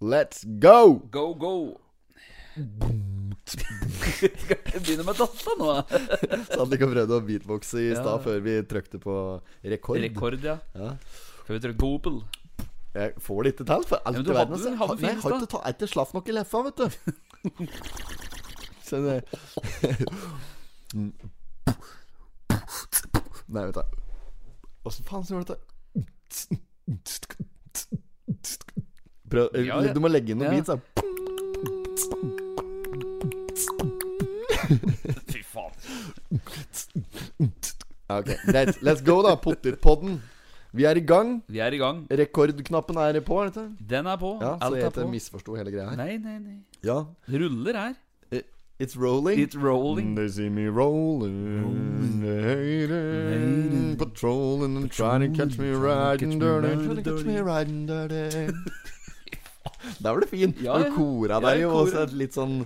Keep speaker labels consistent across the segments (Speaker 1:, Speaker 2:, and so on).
Speaker 1: Let's go!
Speaker 2: Go, go! Skal vi begynne med data nå?
Speaker 1: Satt ikke og prøvde å beatboxe i stad
Speaker 2: Ja.
Speaker 1: før vi trykte på rekord.
Speaker 2: Rekord, ja.
Speaker 1: Ja.
Speaker 2: Skal vi trykke Google?
Speaker 1: Jeg får det ikke til, for alt
Speaker 2: men du
Speaker 1: i verden.
Speaker 2: hadde-
Speaker 1: altså.
Speaker 2: hadde
Speaker 1: Nei, jeg
Speaker 2: fint
Speaker 1: har
Speaker 2: da.
Speaker 1: ikke, ta, jeg har ikke slapp nok i leffa, vet du. Så det Mm. Nei, vet du. Åssen faen så gjør du dette? Prøv,
Speaker 2: Ja, ja. Ja.
Speaker 1: beats. da.
Speaker 2: Fy faen.
Speaker 1: Ja, Ok, greit. Let's go, da. Pottitpodden. Vi er i gang.
Speaker 2: Vi er i gang.
Speaker 1: Rekordknappen er på, er dette?
Speaker 2: Den er på.
Speaker 1: Ja, så
Speaker 2: Alt
Speaker 1: jeg
Speaker 2: er
Speaker 1: heter
Speaker 2: på.
Speaker 1: misforsto hele greia her.
Speaker 2: Nei, nei, nei.
Speaker 1: Ja.
Speaker 2: Det ruller her.
Speaker 1: I- It's rolling.
Speaker 2: It's rolling.
Speaker 1: They see me rolling, they hating, patrolling and trying to catch me riding dirty. Trying to catch me riding dirty. Der var det fin.
Speaker 2: Ja,
Speaker 1: Du
Speaker 2: ja.
Speaker 1: kora
Speaker 2: Ja,
Speaker 1: der
Speaker 2: jeg
Speaker 1: jo, og
Speaker 2: korer.
Speaker 1: så et litt sånn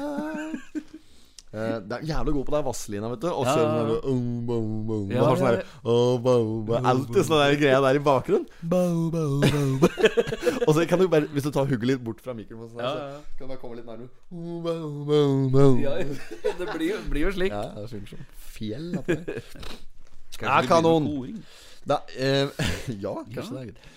Speaker 1: ah. Eh, det er jævlig god på den vaselina, vet du. Og så sånn oh,
Speaker 2: Ja, ja, ja. Ja,
Speaker 1: ja,
Speaker 2: ja,
Speaker 1: sånn
Speaker 2: ja.
Speaker 1: der, oh, bo, bo. Alltid sånn der greia der i bakgrunnen. Bo, bo, bo. og så kan du bare, hvis du tar hugget litt bort fra mikrofonen, sånn,
Speaker 2: Ja,
Speaker 1: her,
Speaker 2: ja.
Speaker 1: så kan du bare komme litt nærmere. Oh, bo, bo, bo.
Speaker 2: ja. Det blir jo, blir jo slik.
Speaker 1: Ja, det synger som fjell. da, på det.
Speaker 2: Kanskje
Speaker 1: Ja,
Speaker 2: vi begynner
Speaker 1: kanon.
Speaker 2: med koring?
Speaker 1: Da, eh, ja, kanskje det er greit.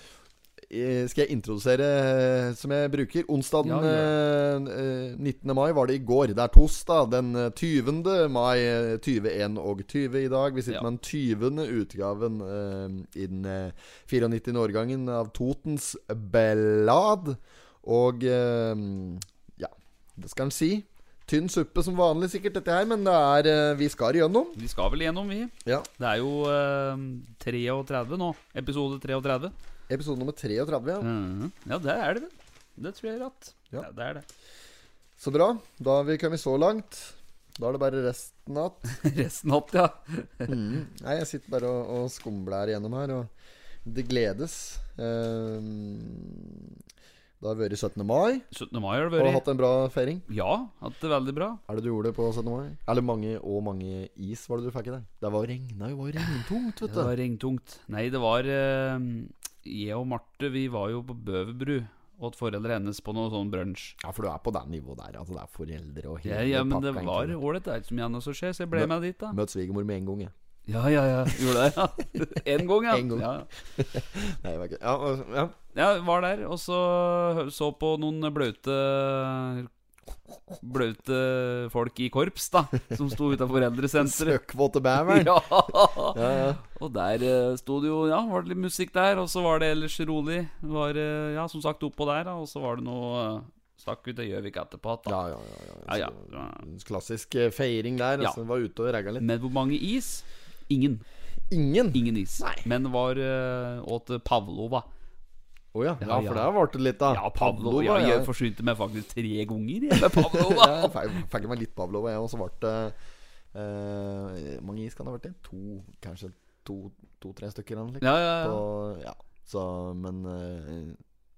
Speaker 1: Eh, Skal jeg introdusere eh, som jeg bruker? Onsdagen
Speaker 2: Ja,
Speaker 1: eh, eh, 19. mai var det i går. Det er torsdag den eh, 20. mai eh, 2021 og 20 i dag. Vi sitter
Speaker 2: Ja.
Speaker 1: med den 20. utgaven eh, i den eh, 94-årgangen av Totens Blad. Og eh, ja, det skal en si. Tynn suppe som vanlig, sikkert, dette her, men det er, eh, vi skal igjennom.
Speaker 2: Vi skal vel gjennom, vi.
Speaker 1: Ja.
Speaker 2: Det er jo eh, 33 nå. Episode 33.
Speaker 1: Episode nummer 33. Ja.
Speaker 2: Mhm. Ja, det er det vel. Det tror jeg er rett.
Speaker 1: Ja.
Speaker 2: det er det.
Speaker 1: Så bra. Da har vi kommet så langt. Da er det bare resten av
Speaker 2: Resten opp, ja.
Speaker 1: Mm. Nei, jeg sitter bare og, og skumbler igjennom her, og det gledes. Ehm, det har vært 17. mai,
Speaker 2: 17. mai har det
Speaker 1: og
Speaker 2: vært.
Speaker 1: hatt en bra feiring.
Speaker 2: Ja, hatt det veldig bra.
Speaker 1: Er det du gjorde på 17. mai? Eller mange og mange is var det du fikk i deg? Det var regna jo, var regntungt,
Speaker 2: Det
Speaker 1: vet du.
Speaker 2: var regntungt. Nei, det var eh, Jeg og Marte vi var jo på Bøverbru og et foreldre hennes på noe sånn brunsj.
Speaker 1: Ja, for du er på det nivået der. Altså, det er foreldre og
Speaker 2: Ja,
Speaker 1: hele
Speaker 2: ja, men det
Speaker 1: pakka,
Speaker 2: var
Speaker 1: egentlig.
Speaker 2: ålreit. Det er ikke så mye annet som skjer, så jeg ble
Speaker 1: Men-
Speaker 2: med dit, da.
Speaker 1: Møt svigermor med en gang, jeg.
Speaker 2: Ja, ja, ja. Gjorde det, ja. Én gang, ja.
Speaker 1: En gang.
Speaker 2: ja.
Speaker 1: Nei, det var ikke- ja, og- ja.
Speaker 2: Ja, var der, og så så på noen blaute Blaute folk i korps, da. Som sto utafor eldresenteret.
Speaker 1: Søkkvåte bæveren.
Speaker 2: Ja.
Speaker 1: Ja, ja.
Speaker 2: Og der eh, sto det jo Ja, var det litt musikk der, og så var det ellers rolig. Var, eh, ja, som sagt, oppå der, da, og så var det noe eh, Stakk ut til Gjøvik etterpå igjen, da.
Speaker 1: Ja, ja, ja, ja.
Speaker 2: Ja, altså, ja.
Speaker 1: Klassisk eh, feiring der.
Speaker 2: Ja.
Speaker 1: Altså, var ute og ragga litt.
Speaker 2: Men hvor mange is? Ingen.
Speaker 1: Ingen!
Speaker 2: Ingen is. Men var eh, åt Pavlova.
Speaker 1: Å ja. ja,
Speaker 2: Ja, ja.
Speaker 1: for der varte det litt, da.
Speaker 2: Ja, Ah, Pavlova.
Speaker 1: ja.
Speaker 2: Jeg forsynte meg faktisk tre ganger jeg, med
Speaker 1: Ja,
Speaker 2: Pavlova.
Speaker 1: jeg fikk- fikk meg litt Pavlova, jeg, og så ble det eh, Mange is kan det ha vært i? To, kanskje to-tre stykker eller noe slikt.
Speaker 2: Ja, ja, ja.
Speaker 1: Så, ja. Så, men eh,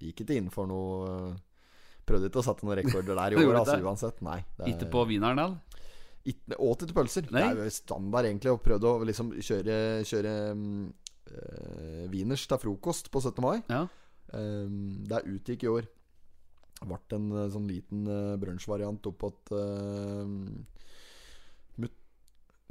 Speaker 1: gikk ikke inn for noe eh, Prøvde ikke å sette noen rekorder der i
Speaker 2: Du
Speaker 1: år,
Speaker 2: gjorde
Speaker 1: altså,
Speaker 2: det?
Speaker 1: uansett. Nei. det er-
Speaker 2: Ikke på Wieneren, eller?
Speaker 1: Ikke- Åt ikke pølser.
Speaker 2: Nei.
Speaker 1: Det er jo standard, egentlig, å prøve å liksom kjøre, kjøre mm, eh, wieners til frokost på 17. mai.
Speaker 2: Ja.
Speaker 1: Um, det utgikk i år. Vart en eh, sånn liten uh, brunsjvariant oppåt uh, mut,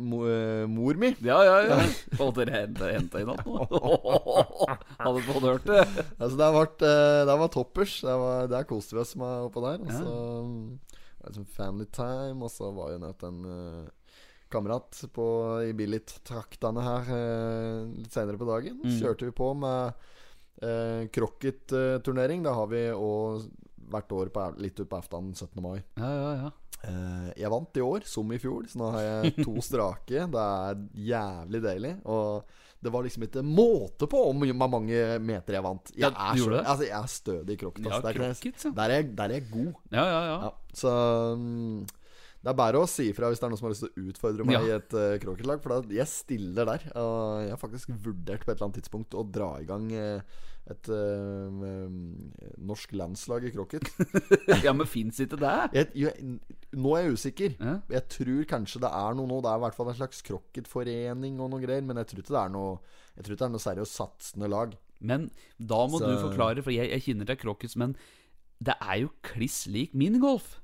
Speaker 1: mo, eh, mor mi.
Speaker 2: Ja, ja, ja. Og dere henta henta i natt nå? Hadde fått hørt det?
Speaker 1: Altså, det, vart, eh, det var toppers. Det, var, der koste vi oss med oppå der. Og
Speaker 2: Ja.
Speaker 1: så um, det var liksom family time, og så var jo nettopp en eh, kamerat på, i Billit-traktene her eh, litt seinere på dagen.
Speaker 2: Mm.
Speaker 1: Kjørte vi på med uh, krokket-turnering. det har vi òg hvert år på, litt utpå aften 17. mai.
Speaker 2: Ja, ja, ja.
Speaker 1: Eh, jeg vant i år, som i fjor, så nå har jeg to strake. Det er jævlig deilig. Og det var liksom ikke måte på om hvor mange meter jeg vant. Jeg
Speaker 2: Ja,
Speaker 1: er,
Speaker 2: du
Speaker 1: så-
Speaker 2: gjorde det?
Speaker 1: altså, jeg er stødig i krokket.
Speaker 2: Ja,
Speaker 1: Altså. Der kan jeg-
Speaker 2: krokket, ja.
Speaker 1: der, er jeg- der er jeg god.
Speaker 2: Ja, ja, ja.
Speaker 1: Ja, så mm, det er bare å si ifra hvis det er noen som har lyst til å utfordre meg
Speaker 2: Ja.
Speaker 1: i et uh, krokketlag. For da, jeg stiller der. Og jeg har faktisk vurdert på et eller annet tidspunkt å dra i gang eh, et eh, mm, norsk landslag i krokket.
Speaker 2: Ja, men fins ikke det?
Speaker 1: Jeg, jeg, nå er jeg usikker.
Speaker 2: Ja.
Speaker 1: Jeg tror kanskje det er noe nå. Det er i hvert fall en slags krokketforening og noe greier. Men jeg tror ikke det er noe Jeg tror ikke det er noe seriøst satsende lag.
Speaker 2: Men da må
Speaker 1: Så-
Speaker 2: du forklare, for jeg, jeg kjenner til Krokkus, men det er jo kliss lik minigolf.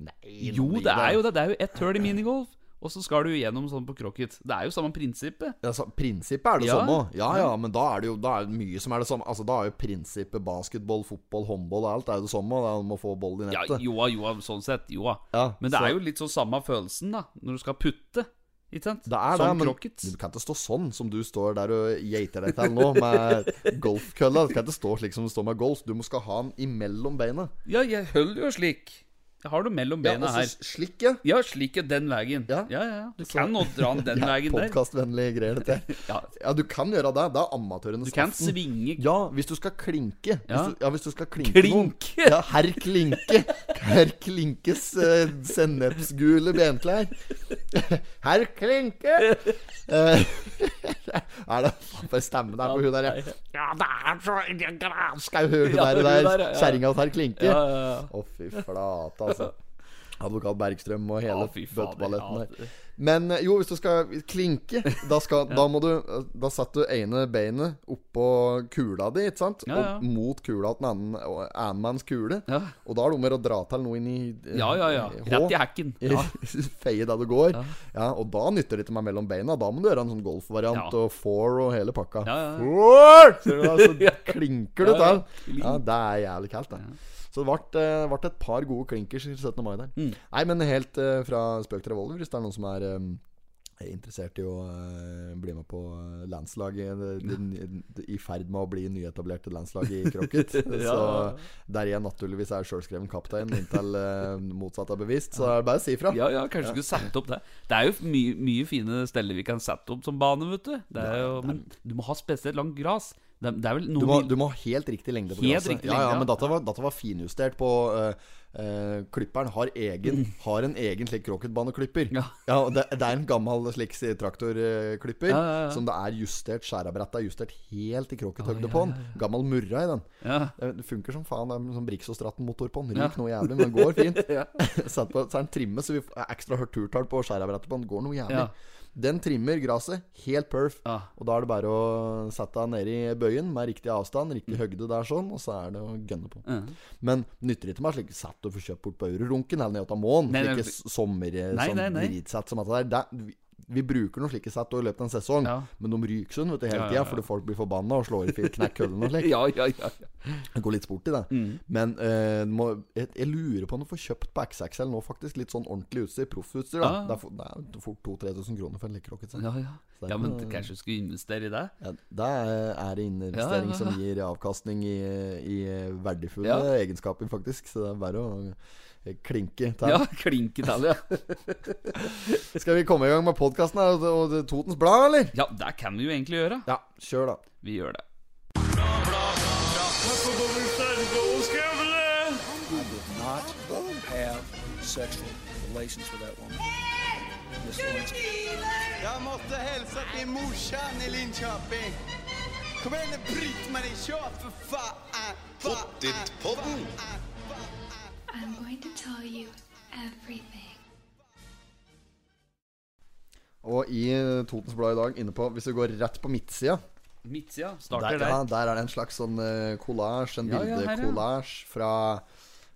Speaker 1: Nei,
Speaker 2: Jo, det er jo det. Det er jo ett høl i minigolf, og så skal du gjennom sånn på krokket. Det er jo samme prinsippet.
Speaker 1: Altså, prinsippet er det
Speaker 2: Ja.
Speaker 1: samme òg. Ja ja, men da er det jo da er det mye som er det samme. Altså, Da er jo prinsippet basketball, fotball, håndball og alt er jo det samme. Da må få ball i
Speaker 2: Ja,
Speaker 1: nettet.
Speaker 2: joa, joa, sånn sett. Joa. Men det er jo litt sånn samme følelsen, da, når du skal putte. Ikke sant?
Speaker 1: det er det,
Speaker 2: Som
Speaker 1: men
Speaker 2: krokket.
Speaker 1: du kan ikke stå sånn som du står der og geiter deg til nå med golfkølla. Du kan ikke stå slik som du står med golf. Du må skal ha den imellom beina.
Speaker 2: Ja, jeg holder jo slik. Jeg har det mellom bena
Speaker 1: altså,
Speaker 2: her.
Speaker 1: Slik, ja.
Speaker 2: Ja, slik er den veien. Ja,
Speaker 1: Ja.
Speaker 2: ja. ja. Du kan nå dra den den veien der.
Speaker 1: Podkastvennlige greier, dette.
Speaker 2: Ja,
Speaker 1: Ja, du kan gjøre det. Det er amatørenes
Speaker 2: du kan svinge
Speaker 1: Ja, hvis du skal klinke.
Speaker 2: Ja.
Speaker 1: Hvis du, ja, hvis du skal klinke noen.
Speaker 2: Klinke!
Speaker 1: Ja, herr Klinke. Herr Klinkes uh, sennepsgule benklær. Herr Klinke! Eh, er det faen for stemme der på hun der? ja? Ja, det er så Granskau, hun
Speaker 2: Ja,
Speaker 1: der,
Speaker 2: hun
Speaker 1: der
Speaker 2: der, ja, ja.
Speaker 1: kjerringa til herr Klinke. Å,
Speaker 2: Ja, ja, ja.
Speaker 1: fy flate, altså. Advokat Bergstrøm og hele
Speaker 2: Å, fy fader,
Speaker 1: bøtteballetten
Speaker 2: ja.
Speaker 1: der. Men eh, jo, hvis du skal klinke, da, skal, da må du eh, Da setter du ene beinet oppå kula di, ikke sant?
Speaker 2: Ja, ja.
Speaker 1: Og mot kula til den annen- og annen manns kule.
Speaker 2: Ja.
Speaker 1: Og da er det om å gjøre å dra til noe inn i eh,
Speaker 2: Ja, ja, ja.
Speaker 1: hå.
Speaker 2: Rett i hekken. Ja.
Speaker 1: Feie der du går.
Speaker 2: Ja.
Speaker 1: Ja. Og da nytter det ikke meg mellom beina. Da må du gjøre en sånn golfvariant
Speaker 2: Ja.
Speaker 1: og four og hele pakka.
Speaker 2: Ja, ja, ja.
Speaker 1: Four! Ser du det? Så klinker du
Speaker 2: Ja, ja.
Speaker 1: til. Ja, det er jævlig kaldt, det. Så det ble, eh, ble et par gode klinkers i 17. mai der.
Speaker 2: Mm.
Speaker 1: Nei, men helt eh, fra spøk til revolver, hvis det er noen som er eh, er interessert i å eh, bli med på eh, landslaget det, det, det, I ferd med å bli nyetablerte landslag i krokket.
Speaker 2: Ja.
Speaker 1: Så Der jeg naturligvis er sjølskreven kaptein inntil eh, motsatt er bevist, så er det bare å si ifra.
Speaker 2: Ja, ja, kanskje vi skulle sette opp det. Det er jo mye, mye fine steder vi kan sette opp som bane, vet du. Det er jo, men du må ha spesielt langt gras. Det, er- det er vel
Speaker 1: Du
Speaker 2: noe
Speaker 1: må, du må ha helt riktig lengde på
Speaker 2: Helt
Speaker 1: glasset. ja,
Speaker 2: riktig lengde,
Speaker 1: ja,
Speaker 2: ja.
Speaker 1: men dette var, dette var finjustert på eh, eh, Klipperen har, egen, har en egen slik krokketbaneklipper.
Speaker 2: Mm. Ja.
Speaker 1: og det, det er en gammel slik si, traktorklipper
Speaker 2: Ja, ja, ja.
Speaker 1: som det er justert skjærabrettet er justert helt i krokkethøgde
Speaker 2: Å, ja,
Speaker 1: på den. Gammel murra i den.
Speaker 2: ja.
Speaker 1: Eh, Det funker som faen. Det er en sånn Brixostraten-motor på den. Ryker noe jævlig, men går fint. Sett på, så er den trimme, så vi får ekstra hørt turtall på skjærabrettet på den. Går noe jævlig.
Speaker 2: Ja.
Speaker 1: Den trimmer gresset helt perf.
Speaker 2: Ja.
Speaker 1: Og da er det bare å sette deg nedi bøyen med riktig avstand,
Speaker 2: Mm.
Speaker 1: riktig høgde der sånn, og så er det å gønne på.
Speaker 2: Ja.
Speaker 1: Men nytter ikke meg slik sett og få kjøpt bort på Eurorunken eller ned til Månen.
Speaker 2: Nei, nei,
Speaker 1: Slike s- sommer...
Speaker 2: Nei, nei, nei.
Speaker 1: Sånn dritsett som dette der. Det, vi, vi bruker noen slike sett i løpet av en sesong,
Speaker 2: Ja.
Speaker 1: men de ryker sånn vet du, hele
Speaker 2: Ja,
Speaker 1: tida
Speaker 2: ja, ja.
Speaker 1: fordi folk blir forbanna og slår i fil- knekk køllen og slik.
Speaker 2: ja, Mm. ja, ja.
Speaker 1: Det går litt sport i det. Men eh, du må, jeg, jeg lurer på om du får kjøpt på XXL nå, faktisk. Litt sånn ordentlig utstyr. Proffutstyr. da
Speaker 2: Ja.
Speaker 1: Det er for- det er fort 2000-3000 kroner for en lekerocket. sant?
Speaker 2: Ah. ja, ja. ja men kanskje du skulle investere i det?
Speaker 1: Ja, det er en investering
Speaker 2: Ja, ja, ja.
Speaker 1: som gir avkastning i, i verdifulle
Speaker 2: Ja.
Speaker 1: egenskaper, faktisk. Så det er bare å eh, klinke til.
Speaker 2: Ja, klink i tall, ja.
Speaker 1: Skal vi komme i gang med podkasten og, og Totens Blad, eller?
Speaker 2: Ja, det kan vi jo egentlig gjøre.
Speaker 1: Ja, kjør, da.
Speaker 2: Vi gjør det.
Speaker 3: not have sexual relations with that woman. Miss Lewinsky.
Speaker 4: Jeg måtte hilse til morsan i Linköping. Kom igjen, Britt-Marie, kjør, for faen! Pottitpodden!
Speaker 5: I'm going to tell you everything.
Speaker 1: Og i eh, Totens Blad i dag, inne på Hvis vi går rett på midtsida
Speaker 2: Midtsida
Speaker 1: der,
Speaker 2: starter
Speaker 1: ja,
Speaker 2: der.
Speaker 1: der er det en slags sånn eh, collage, en
Speaker 2: Ja, ja, her, ja.
Speaker 1: bildekollasj fra ja,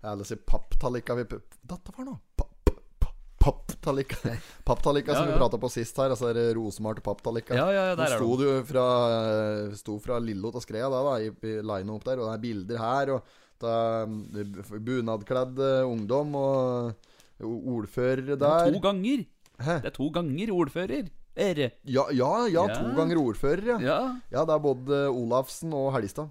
Speaker 1: La oss si papptallika vi pu- Dette var noe! Papp- papp- Papptallika Papptallika som
Speaker 2: Ja,
Speaker 1: vi
Speaker 2: ja.
Speaker 1: prata på sist her. Altså er det rosemalte papptallika.
Speaker 2: Ja, ja, ja, der
Speaker 1: Den
Speaker 2: er
Speaker 1: sto det jo fra, eh, sto fra Lillo til Skrea da, da, i, i lina opp der. Og det er bilder her. Og det er eh, bunadkledd eh, ungdom og eh, ordførere
Speaker 2: Det er
Speaker 1: der.
Speaker 2: to ganger.
Speaker 1: Hæ?
Speaker 2: Det er to ganger ordfører. Ere.
Speaker 1: Ja, ja, ja, to
Speaker 2: Ja.
Speaker 1: ganger ordfører, ja.
Speaker 2: Ja.
Speaker 1: Ja, det er både Olafsen og Helgestad.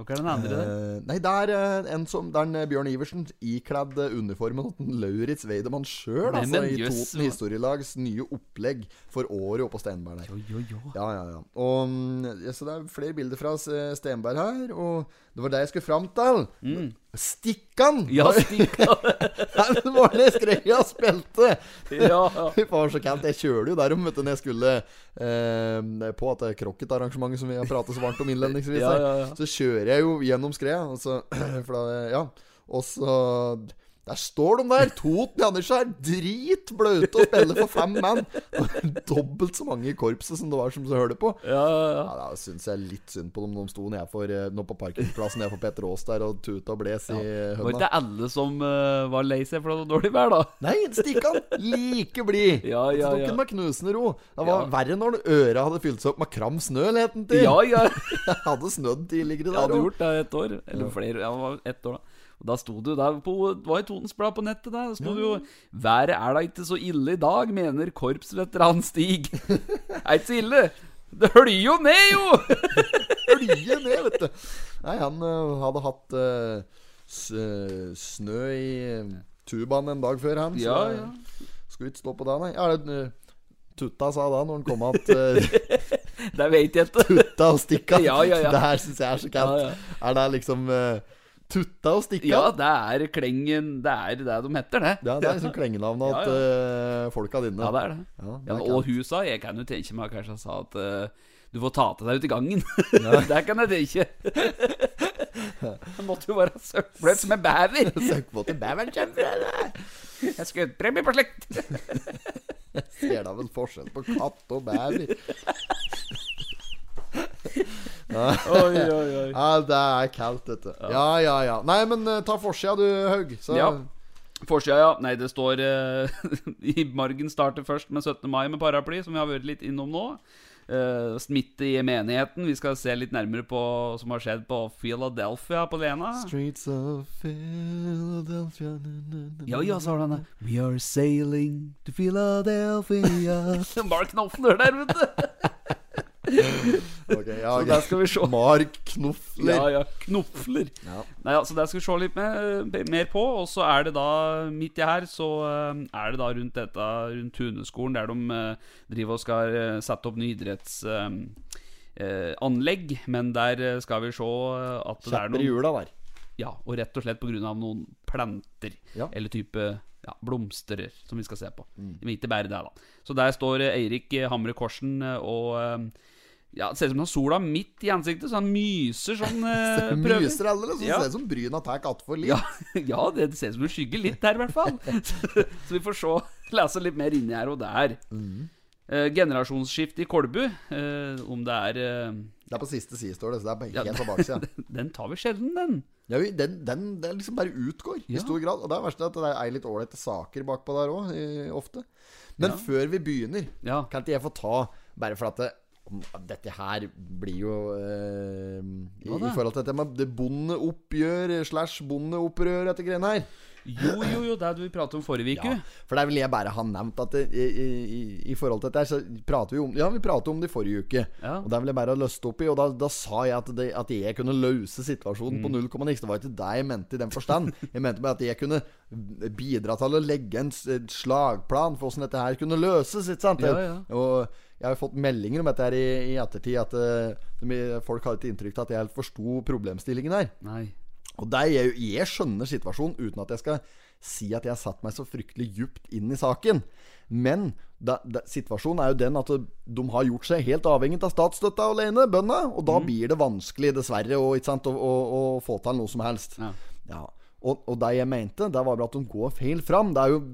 Speaker 2: Og hva er den andre der?
Speaker 1: Eh, nei, det er eh, en som Det er en eh, Bjørn Iversen ikledd eh, uniformen til en Lauritz Weidemann sjøl,
Speaker 2: Nei,
Speaker 1: altså,
Speaker 2: men
Speaker 1: i
Speaker 2: jøss,
Speaker 1: Toten
Speaker 2: hva-
Speaker 1: Historielags nye opplegg for året oppå Steinberg der.
Speaker 2: Jo, jo, jo.
Speaker 1: Ja, ja, ja. Og, mm, ja, så det er flere bilder fra eh, Stenberg her, og det var det jeg skulle fram til. Stikkan!
Speaker 2: Mm. Ja, stikk av.
Speaker 1: det var det Skreia spilte!
Speaker 2: Ja, ja.
Speaker 1: Fy faen, så kaldt. Jeg kjøler jo derom, vet du, når jeg skulle eh, på at det krokketarrangementet som vi har pratet så varmt om innledningsvis.
Speaker 2: Ja,
Speaker 1: her.
Speaker 2: ja, ja.
Speaker 1: Så kjører jeg jo gjennom skredet, og så For da Ja. Og så Det Der står de der. Toten i Andersskjær, dritbløte og spiller for fem mann. Dobbelt så mange i korpset som det var som hørte på.
Speaker 2: Ja, ja,
Speaker 1: Ja, Da syns jeg litt synd på dem. De sto nede, for, eh, nå på parkeringsplassen nede for Petter Aas der og tuta og bles i
Speaker 2: Det var
Speaker 1: høna.
Speaker 2: ikke alle som eh, var lei seg for det var dårlig vær, da.
Speaker 1: Nei, stikk han! Like blid!
Speaker 2: Ja, ja,
Speaker 1: tok
Speaker 2: ja.
Speaker 1: han med knusende ro. Det var
Speaker 2: Ja.
Speaker 1: verre når øra hadde fylt seg opp med kram snø, het den til.
Speaker 2: Ja, ja.
Speaker 1: Jeg hadde snødd tidligere
Speaker 2: Jeg
Speaker 1: der
Speaker 2: hadde
Speaker 1: òg.
Speaker 2: gjort det i ett år. Eller flere. Ja, det var ett år, da. Og da sto det jo der på Det var i Totens Blad på nettet, der. Det sto det jo 'Været er da ikke så ille i dag', mener korpsveteran Stig. er ikke så ille. Det høljer jo ned, jo!
Speaker 1: Hølje ned, vet du. Nei, han eh, hadde hatt eh, s eh, snø i eh, tubaen en dag før, han.
Speaker 2: Ja,
Speaker 1: det
Speaker 2: ja.
Speaker 1: Skulle ikke stå på det, nei. Ja, det, eh, Tutta sa da når han kom at eh,
Speaker 2: Det vet jeg ikke.
Speaker 1: Tutta og stikka.
Speaker 2: Ja, ja, ja.
Speaker 1: Det her syns jeg er så
Speaker 2: Ja,
Speaker 1: kaldt.
Speaker 2: ja.
Speaker 1: Er det liksom eh, Tutta og stikka?
Speaker 2: Ja, det er Klengen Det er det de heter, det.
Speaker 1: Ja, det er liksom klengenavnet
Speaker 2: Ja,
Speaker 1: at
Speaker 2: ja.
Speaker 1: eh, folka dine
Speaker 2: Ja, det er det.
Speaker 1: Ja, det
Speaker 2: Ja,
Speaker 1: er
Speaker 2: og
Speaker 1: kaldt.
Speaker 2: hun sa Jeg kan jo tenke meg kanskje han sa at eh, du får ta til deg ute i gangen. Der kan jeg tenke. Jeg måtte jo være søppelbløt som en bever.
Speaker 1: Søk på til bæveren kommer fra deg.
Speaker 2: Jeg skal ut premie på slekt.
Speaker 1: Ser da vel forskjell på katt og bæver?
Speaker 2: Oi, oi, oi.
Speaker 1: Ja, det er kaldt, dette. Ja, ja, ja. Nei, men eh, ta forsida du, Haug. Så
Speaker 2: Ja. Forsida, ja. Nei, det står eh, I margen starter først med 17. mai med paraply, som vi har vært litt innom nå. Eh, smitte i menigheten. Vi skal se litt nærmere på hva som har skjedd på Philadelphia på Lena.
Speaker 1: Streets of Philadelphia na-na-na-na.
Speaker 2: Ja, ja, sa han. We are sailing to Philadelphia. Mark Knopfler der, vet du.
Speaker 1: Ok, ja,
Speaker 2: Så der skal vi se.
Speaker 1: Mark Knofler.
Speaker 2: Ja, ja. Knopfler.
Speaker 1: Ja.
Speaker 2: Nei, altså Det skal vi se litt mer, mer på. Og så er det da midt i her Så eh, er det da rundt dette Rundt Tuneskolen, der de eh, driver og skal eh, sette opp nye idrettsanlegg. eh, Men der eh, skal vi se eh, at det er
Speaker 1: Kjapper i
Speaker 2: noen
Speaker 1: hjula der.
Speaker 2: Ja, og rett og slett pga. noen planter.
Speaker 1: Ja. Mm.
Speaker 2: Eller type ja, blomsterer, som vi skal se på. Men ikke bare det, da. Så der står eh, Eirik eh, Hamre Korsen eh, og eh, ja, Det ser ut som han har sola midt i ansiktet, så han myser sånn. eh, prøver.
Speaker 1: Myser alle, eller? Så
Speaker 2: Ja.
Speaker 1: ser det ut som Bryna tar katt for liv.
Speaker 2: Ja, ja det ser ut som en skygge litt her, i hvert fall. Så, så vi får se, lese litt mer inni her og der.
Speaker 1: Mm.
Speaker 2: Eh, generasjonsskifte i Kolbu. eh, om det er eh,
Speaker 1: Det er på siste side, står det. Så det er bare
Speaker 2: Ja.
Speaker 1: helt på baksida.
Speaker 2: Den tar vi sjelden, den.
Speaker 1: Ja, vi- den, den, den liksom bare utgår i
Speaker 2: Ja.
Speaker 1: stor grad. Og det er verst at det er litt ålreite saker bakpå der òg, ofte. Men før vi begynner,
Speaker 2: Ja.
Speaker 1: kan ikke jeg få ta Bare for at det, om- dette her blir jo eh, i,
Speaker 2: Hva da?
Speaker 1: I forhold til dette med det bondeoppgjør slash bondeopprør, dette greiene her.
Speaker 2: Jo, jo, jo, det er det vi pratet om forrige uke.
Speaker 1: Ja, for der vil jeg bare ha nevnt at det, i, i, i- i forhold til dette her, så prater vi om Ja, vi pratet om det i forrige uke.
Speaker 2: Ja.
Speaker 1: Og der vil jeg bare ha løst opp i, og da, da sa jeg at, det, at jeg kunne løse situasjonen
Speaker 2: Mm.
Speaker 1: på null komma niks. Det var ikke det jeg mente i den forstand. Jeg mente bare at jeg kunne bidra til å legge en s- et slagplan for åssen dette her kunne løses, ikke sant?
Speaker 2: Ja, ja.
Speaker 1: Og jeg har jo fått meldinger om dette her i, i ettertid, at eh, de- folk har et inntrykk av at jeg helt forsto problemstillingen her.
Speaker 2: Nei.
Speaker 1: Og der, jeg, jeg skjønner situasjonen uten at jeg skal si at jeg har satt meg så fryktelig djupt inn i saken. Men da, da, situasjonen er jo den at de har gjort seg helt avhengig av statsstøtta alene, bøndene. Og da blir det vanskelig, dessverre, å, ikke sant, å, å, å få til noe som helst.
Speaker 2: Ja.
Speaker 1: Ja. Og, og det jeg mente, det var bare at de går feil fram. Det er jo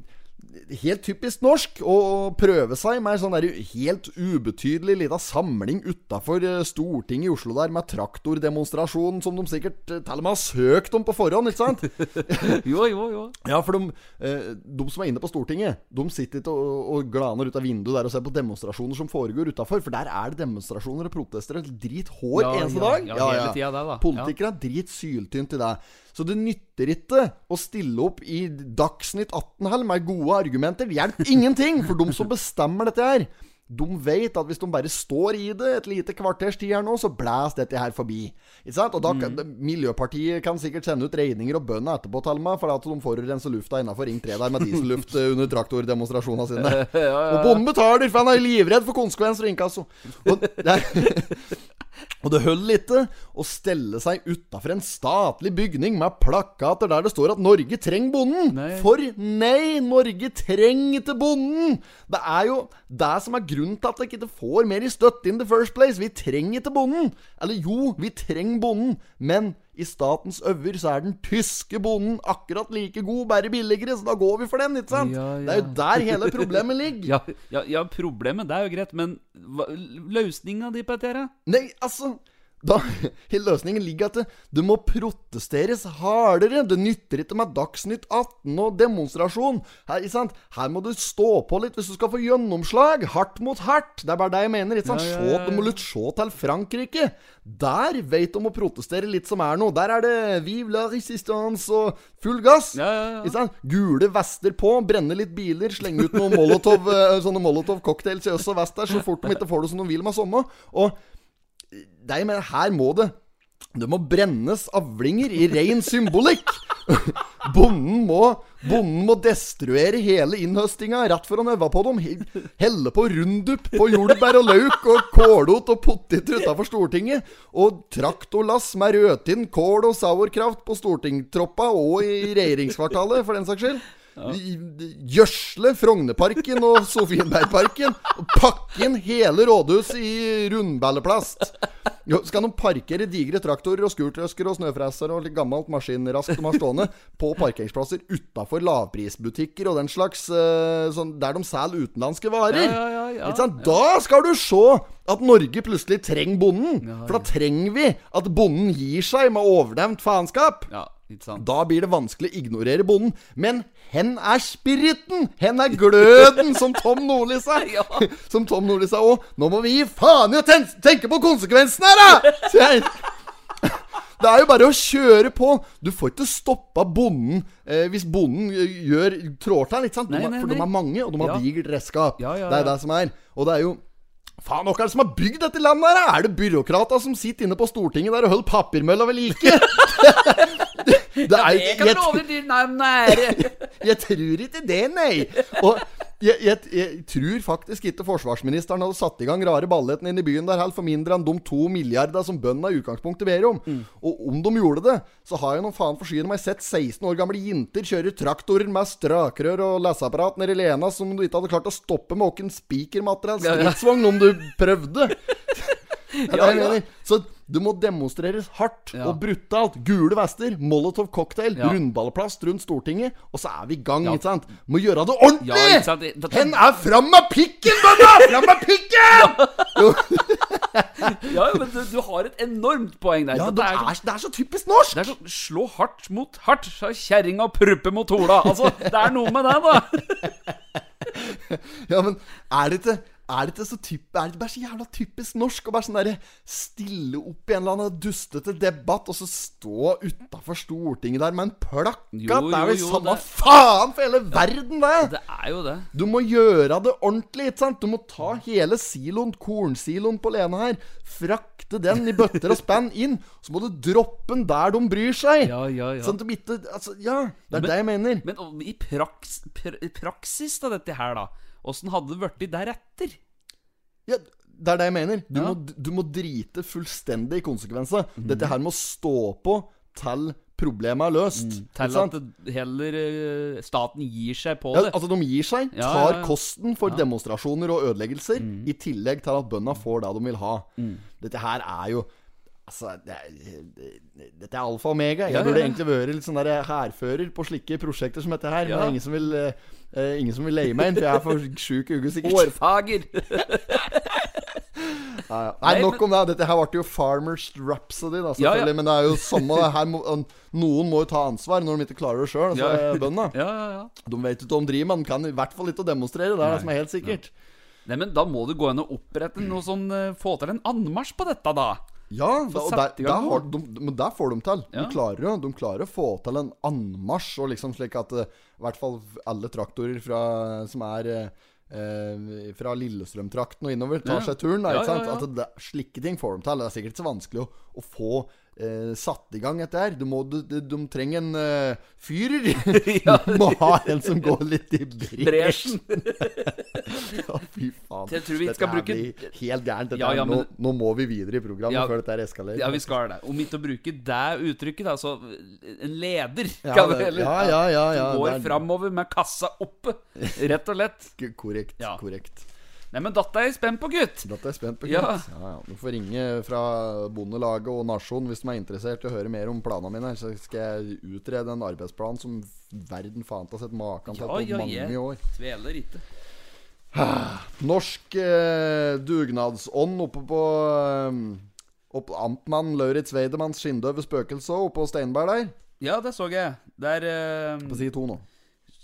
Speaker 1: helt typisk norsk å å prøve seg med en sånn der helt ubetydelig lita samling utafor eh, Stortinget i Oslo der med traktordemonstrasjon som de sikkert eh, til og med har søkt om på forhånd, ikke sant?
Speaker 2: Jo, jo, jo.
Speaker 1: Ja, for de, eh, de som er inne på Stortinget, de sitter ikke og, og glaner ut av vinduet der og ser på demonstrasjoner som foregår utafor. For der er det demonstrasjoner og protester og drit hår
Speaker 2: Ja,
Speaker 1: eneste
Speaker 2: ja,
Speaker 1: dag.
Speaker 2: ja, hele tida der, da.
Speaker 1: Politikere er drit syltynt i det. Så det nytter ikke å stille opp i Dagsnytt 18 her med gode argumenter. Det hjelper ingenting for de som bestemmer dette her. De vet at hvis de bare står i det et lite kvarters tid her nå, så blæs dette her forbi. Ikke sant? Og da kan, Miljøpartiet kan sikkert sende ut regninger og bøndene etterpå, til og med, for at de forurenser lufta innafor Ring 3 der med dieselluft eh, under traktordemonstrasjonene sine. Og bonden betaler, for han er livredd for konsekvenser og inkasso. Og det er og det holder ikke å stelle seg utafor en statlig bygning med plakater der det står at 'Norge trenger bonden'.
Speaker 2: Nei.
Speaker 1: For nei, Norge trenger ikke bonden! Det er jo det som er grunnen til at dere ikke får mer i støtte in the first place. Vi trenger ikke bonden. Eller jo, vi trenger bonden, men I statens øver så er den tyske bonden akkurat like god, bare billigere, så da går vi for den, ikke sant?
Speaker 2: Ja, ja.
Speaker 1: Det er jo der hele problemet ligger.
Speaker 2: Ja, ja, ja, problemet, det er jo greit, men hva- løsninga di, Petter? ja?
Speaker 1: Nei, altså da, hele Løsningen ligger at det, det må protesteres hardere. Det nytter ikke med Dagsnytt 18 og demonstrasjon. Her, ikke sant? Her må du stå på litt hvis du skal få gjennomslag. Hardt mot hardt. Det er bare det jeg mener. Ikke sant?
Speaker 2: Ja, ja,
Speaker 1: Se-
Speaker 2: ja, ja.
Speaker 1: Du må litt se til Frankrike. Der vet de å protestere litt som er noe. Der er det Vive la resistance og full gass.
Speaker 2: Ja, ja, ja.
Speaker 1: Ikke sant? Gule vester på, brenne litt biler, slenge ut noen molotov, eh, sånne molotov-cocktails i øst og vest der, så fort de ikke får det som de vil med somme. Og eh, det jeg mener, her må det Det må brennes avlinger i ren symbolikk. Bonden må, bonden må destruere hele innhøstinga rett før han øver på dem. He- Helle på rundup på jordbær og lauk og kålot og poteter utafor Stortinget. Og traktorlass med rødtinn, kål og sauerkraft på stortingtroppa og i regjeringskvartalet, for den saks skyld. Gjødsle Frognerparken og Sofienbergparken. Og pakke inn hele rådhuset i rundballeplast. Jo, skal de parkere digre traktorer og skurtrøsker og snøfresere og litt gammelt maskinrask de har stående, på parkeringsplasser utafor lavprisbutikker og den slags eh, sånn, Der de selger utenlandske varer?
Speaker 2: Ja, ja, ja, ja.
Speaker 1: Ikke sant? Da skal du se at Norge plutselig trenger bonden. For da trenger vi at bonden gir seg med overdevnt faenskap.
Speaker 2: Ja, ikke sant?
Speaker 1: Da blir det vanskelig å ignorere bonden. Men hen er spiriten! Hen er gløden, som Tom Nordli sa.
Speaker 2: Ja.
Speaker 1: Som Tom Nordli sa òg. Nå må vi gi faen i å ten tenke på konsekvensene her, da! Så jeg, det er jo bare å kjøre på. Du får ikke stoppa bonden eh, hvis bonden eh, gjør trår til, ikke sant? De,
Speaker 2: Nei,
Speaker 1: har-
Speaker 2: nei,
Speaker 1: for de
Speaker 2: nei.
Speaker 1: er mange, og de har
Speaker 2: Ja.
Speaker 1: digert redskap.
Speaker 2: Ja, ja,
Speaker 1: Det
Speaker 2: ja.
Speaker 1: er det som er. Og det er jo Faen, hvem er det som har bygd dette landet her? Er det byråkratene som sitter inne på Stortinget der og holder papirmølla ved like? Det er,
Speaker 2: Jeg
Speaker 1: jeg,
Speaker 2: kan love deg, nei, nære.
Speaker 1: jeg tror ikke det, nei. Og jeg, jeg, jeg tror faktisk ikke forsvarsministeren hadde satt i gang rare balletten inne i byen der helt for mindre enn de to milliarder som bøndene i utgangspunktet ber om.
Speaker 2: Mm.
Speaker 1: Og om de gjorde det, så har jeg noen faen forsyne meg sett 16 år gamle jenter kjøre traktorer med strakrør og leseapparat nede i Lena som du ikke hadde klart å stoppe med åken spikermateriell
Speaker 2: Ja, ja.
Speaker 1: stridsvogn om du prøvde. Det er det jeg
Speaker 2: Ja, ja.
Speaker 1: mener. Så du må demonstreres hardt
Speaker 2: Ja.
Speaker 1: og brutalt. Gule vester, Molotov cocktail,
Speaker 2: Ja.
Speaker 1: rundballplast rundt Stortinget, og så er vi i gang,
Speaker 2: Ja.
Speaker 1: ikke sant? Må gjøre det ordentlig!
Speaker 2: Ja, ikke sant? Det- det-
Speaker 1: Hen er fram med pikken, bønda! Fram med pikken!
Speaker 2: Ja, men du, du har et enormt poeng der.
Speaker 1: Ja,
Speaker 2: Dette
Speaker 1: det
Speaker 2: er så-
Speaker 1: er, det er så typisk norsk!
Speaker 2: Det er sånn Slå hardt mot hardt, sa kjerringa pruppe mot hola. Altså, det er noe med det, da.
Speaker 1: Ja, men er det ikke er det ikke så typ, er det ikke bare så jævla typisk norsk å bare sånn derre stille opp i en eller annen dustete debatt, og så stå utafor Stortinget der med en plakat?
Speaker 2: Jo,
Speaker 1: det er
Speaker 2: jo,
Speaker 1: jo
Speaker 2: jo,
Speaker 1: samme
Speaker 2: det-
Speaker 1: faen for hele verden, det!
Speaker 2: Det er jo det.
Speaker 1: Du må gjøre det ordentlig, ikke sant? Du må ta hele siloen, kornsiloen på Lene her, frakte den i bøtter og spann inn, så må du droppe den der de bryr seg.
Speaker 2: Ja, ja, ja.
Speaker 1: Sånn at de ikke Altså, ja. Det er
Speaker 2: Men-
Speaker 1: det jeg mener.
Speaker 2: Men om- i praks, pr praksis av dette her, da, åssen hadde det blitt deretter?
Speaker 1: Ja, det er det jeg mener. Du,
Speaker 2: Ja. Mhm.
Speaker 1: må, du må drite fullstendig i konsekvenser. Dette her må stå på til problemet er løst.
Speaker 2: Mm. Til
Speaker 1: ikke sant?
Speaker 2: at det heller eh, staten gir seg på
Speaker 1: Ja,
Speaker 2: det.
Speaker 1: altså De gir seg,
Speaker 2: Ja,
Speaker 1: tar
Speaker 2: ja, Mm. ja.
Speaker 1: kosten for demonstrasjoner og ødeleggelser, i tillegg til at bøndene får det de vil ha.
Speaker 2: Mm.
Speaker 1: Dette her er jo Altså, det er, det- dette er alfa og omega. Jeg
Speaker 2: Ja, ja,
Speaker 1: burde
Speaker 2: ja.
Speaker 1: egentlig vært litt sånn der hærfører på slike prosjekter som dette her. Men
Speaker 2: Ja.
Speaker 1: det er ingen som vil eh, eh, Ingen som vil leie meg inn, for jeg er for sjuk i uke, sikkert.
Speaker 2: Hårfager!
Speaker 1: Ja, ja. Nei,
Speaker 2: Nei,
Speaker 1: nok om det. Dette her ble jo Farmers Rhapsody, da,
Speaker 2: Ja, ja.
Speaker 1: selvfølgelig. Men det er jo samme det her. Må, noen må jo ta ansvar når de ikke klarer det sjøl, altså
Speaker 2: Ja.
Speaker 1: bøndene.
Speaker 2: Ja, ja, ja.
Speaker 1: De vet ikke hva de driver med, de kan i hvert fall ikke å demonstrere. Det er det som er helt sikkert.
Speaker 2: Nei, men da må du gå inn og opprette noe sånn eh, Få til en anmarsj på dette, da.
Speaker 1: Ja, da, og der,
Speaker 2: satt i gang
Speaker 1: der
Speaker 2: noe.
Speaker 1: har, de, men der får de til. De,
Speaker 2: Ja.
Speaker 1: klarer, jo- de klarer å få til en anmarsj, og liksom slik at eh, i hvert fall alle traktorer fra, som er eh, eh, fra Lillestrøm-trakten og innover, tar
Speaker 2: Ja.
Speaker 1: seg turen. Da,
Speaker 2: Ja,
Speaker 1: ikke sant?
Speaker 2: ja, ja.
Speaker 1: At det, slike ting får de til. Det er sikkert ikke så vanskelig å, å få eh, satt i gang dette her. Du må, du, du, de trenger en eh, fyrer. Du må ha en som går litt i bresjen.
Speaker 2: Bresjen.
Speaker 1: Ja, fy faen.
Speaker 2: Jeg tror vi
Speaker 1: Dette
Speaker 2: skal
Speaker 1: her
Speaker 2: bruke-
Speaker 1: blir helt gærent. Dette
Speaker 2: Ja,
Speaker 1: her-
Speaker 2: ja, men-
Speaker 1: nå, nå må vi videre i programmet
Speaker 2: Ja.
Speaker 1: før dette her eskalerer.
Speaker 2: Ja, vi skal det. Om ikke å bruke det uttrykket, da, så eh, en leder,
Speaker 1: Ja,
Speaker 2: kan
Speaker 1: det-
Speaker 2: det heller
Speaker 1: ja, ja, ja, ja,
Speaker 2: Som
Speaker 1: det
Speaker 2: går
Speaker 1: er-
Speaker 2: framover med kassa oppe, rett og lett.
Speaker 1: K- Korrekt.
Speaker 2: Ja.
Speaker 1: Korrekt.
Speaker 2: Nei, men datta er jeg spent på, gutt!
Speaker 1: Dette er jeg spent på.
Speaker 2: Ja.
Speaker 1: Ja. Ja, ja. Du får ringe fra Bondelaget og Nasjonen hvis de er interessert i å høre mer om planene mine. Så skal jeg utrede en arbeidsplan som verden faen ikke har sett maken til
Speaker 2: Ja,
Speaker 1: på
Speaker 2: ja,
Speaker 1: mange
Speaker 2: jeg
Speaker 1: år.
Speaker 2: tveler ikke.
Speaker 1: Norsk eh, dugnadsånd oppe på eh, opp, Amtmann Lauritz Weidemanns skinndøve spøkelse oppe på Steinberg der.
Speaker 2: Ja, det så jeg. Der eh,
Speaker 1: På side to nå.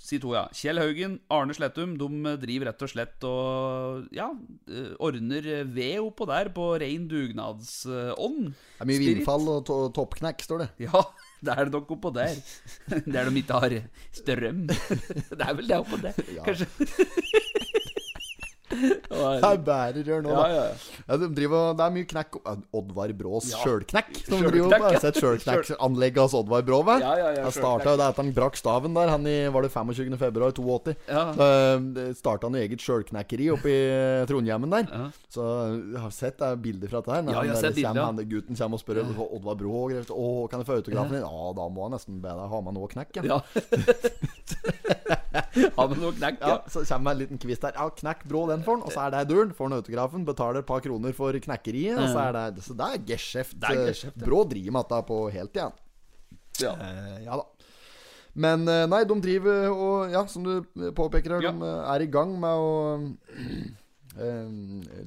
Speaker 2: Si to, ja. Kjell Haugen, Arne Slettum, de driver rett og slett og ja, eh, ordner ved oppå der på rein dugnadsånd.
Speaker 1: Det er mye
Speaker 2: Spirit.
Speaker 1: vinfall og to toppknekk, står det.
Speaker 2: Ja, det er det nok oppå der. Der de ikke har strøm. Det er vel det oppå der,
Speaker 1: Ja.
Speaker 2: kanskje.
Speaker 1: Det er bærerør nå,
Speaker 2: Ja,
Speaker 1: da.
Speaker 2: ja.
Speaker 1: Ja, de driver, og- det er mye knekk opp- eh, Oddvar Brås
Speaker 2: Ja.
Speaker 1: sjølknekk. Som
Speaker 2: Sjølknekk,
Speaker 1: driver opp,
Speaker 2: ja.
Speaker 1: Har du sett sjølknekkanlegget hos Oddvar Brå? vel?
Speaker 2: Ja, ja, ja,
Speaker 1: Jeg
Speaker 2: sjølknekk.
Speaker 1: starta jo det etter han brakk staven der. Han i, var det 25. februar 82.
Speaker 2: Ja.
Speaker 1: Så starta han jo eget sjølknekkeri oppe i eh, Trondhjemmen der.
Speaker 2: Ja.
Speaker 1: Så jeg har sett det er bilder fra dette her. Når
Speaker 2: Ja, jeg har
Speaker 1: han der
Speaker 2: sett bilder,
Speaker 1: kommer,
Speaker 2: ja.
Speaker 1: han der gutten kommer og spør om Oddvar Brå og greier. Å, kan jeg få autografen din? Ja, da må jeg nesten be deg ha med noe knekk. Ja.
Speaker 2: Ja. Har vi noe knekk, ja?
Speaker 1: Ja, så kommer en liten kvist der. Ja, knekk brå den for han, og så er det duren. Får han autografen, betaler et par kroner for knekkeriet, og så er det Så det er geskjeft.
Speaker 2: Det er geskjeft, ja.
Speaker 1: Brå driver med dette på heltid, han.
Speaker 2: Ja.
Speaker 1: Eh, ja da. Men eh, nei, de driver og Ja, som du påpeker her,
Speaker 2: Ja.
Speaker 1: de eh, er i gang med å eh,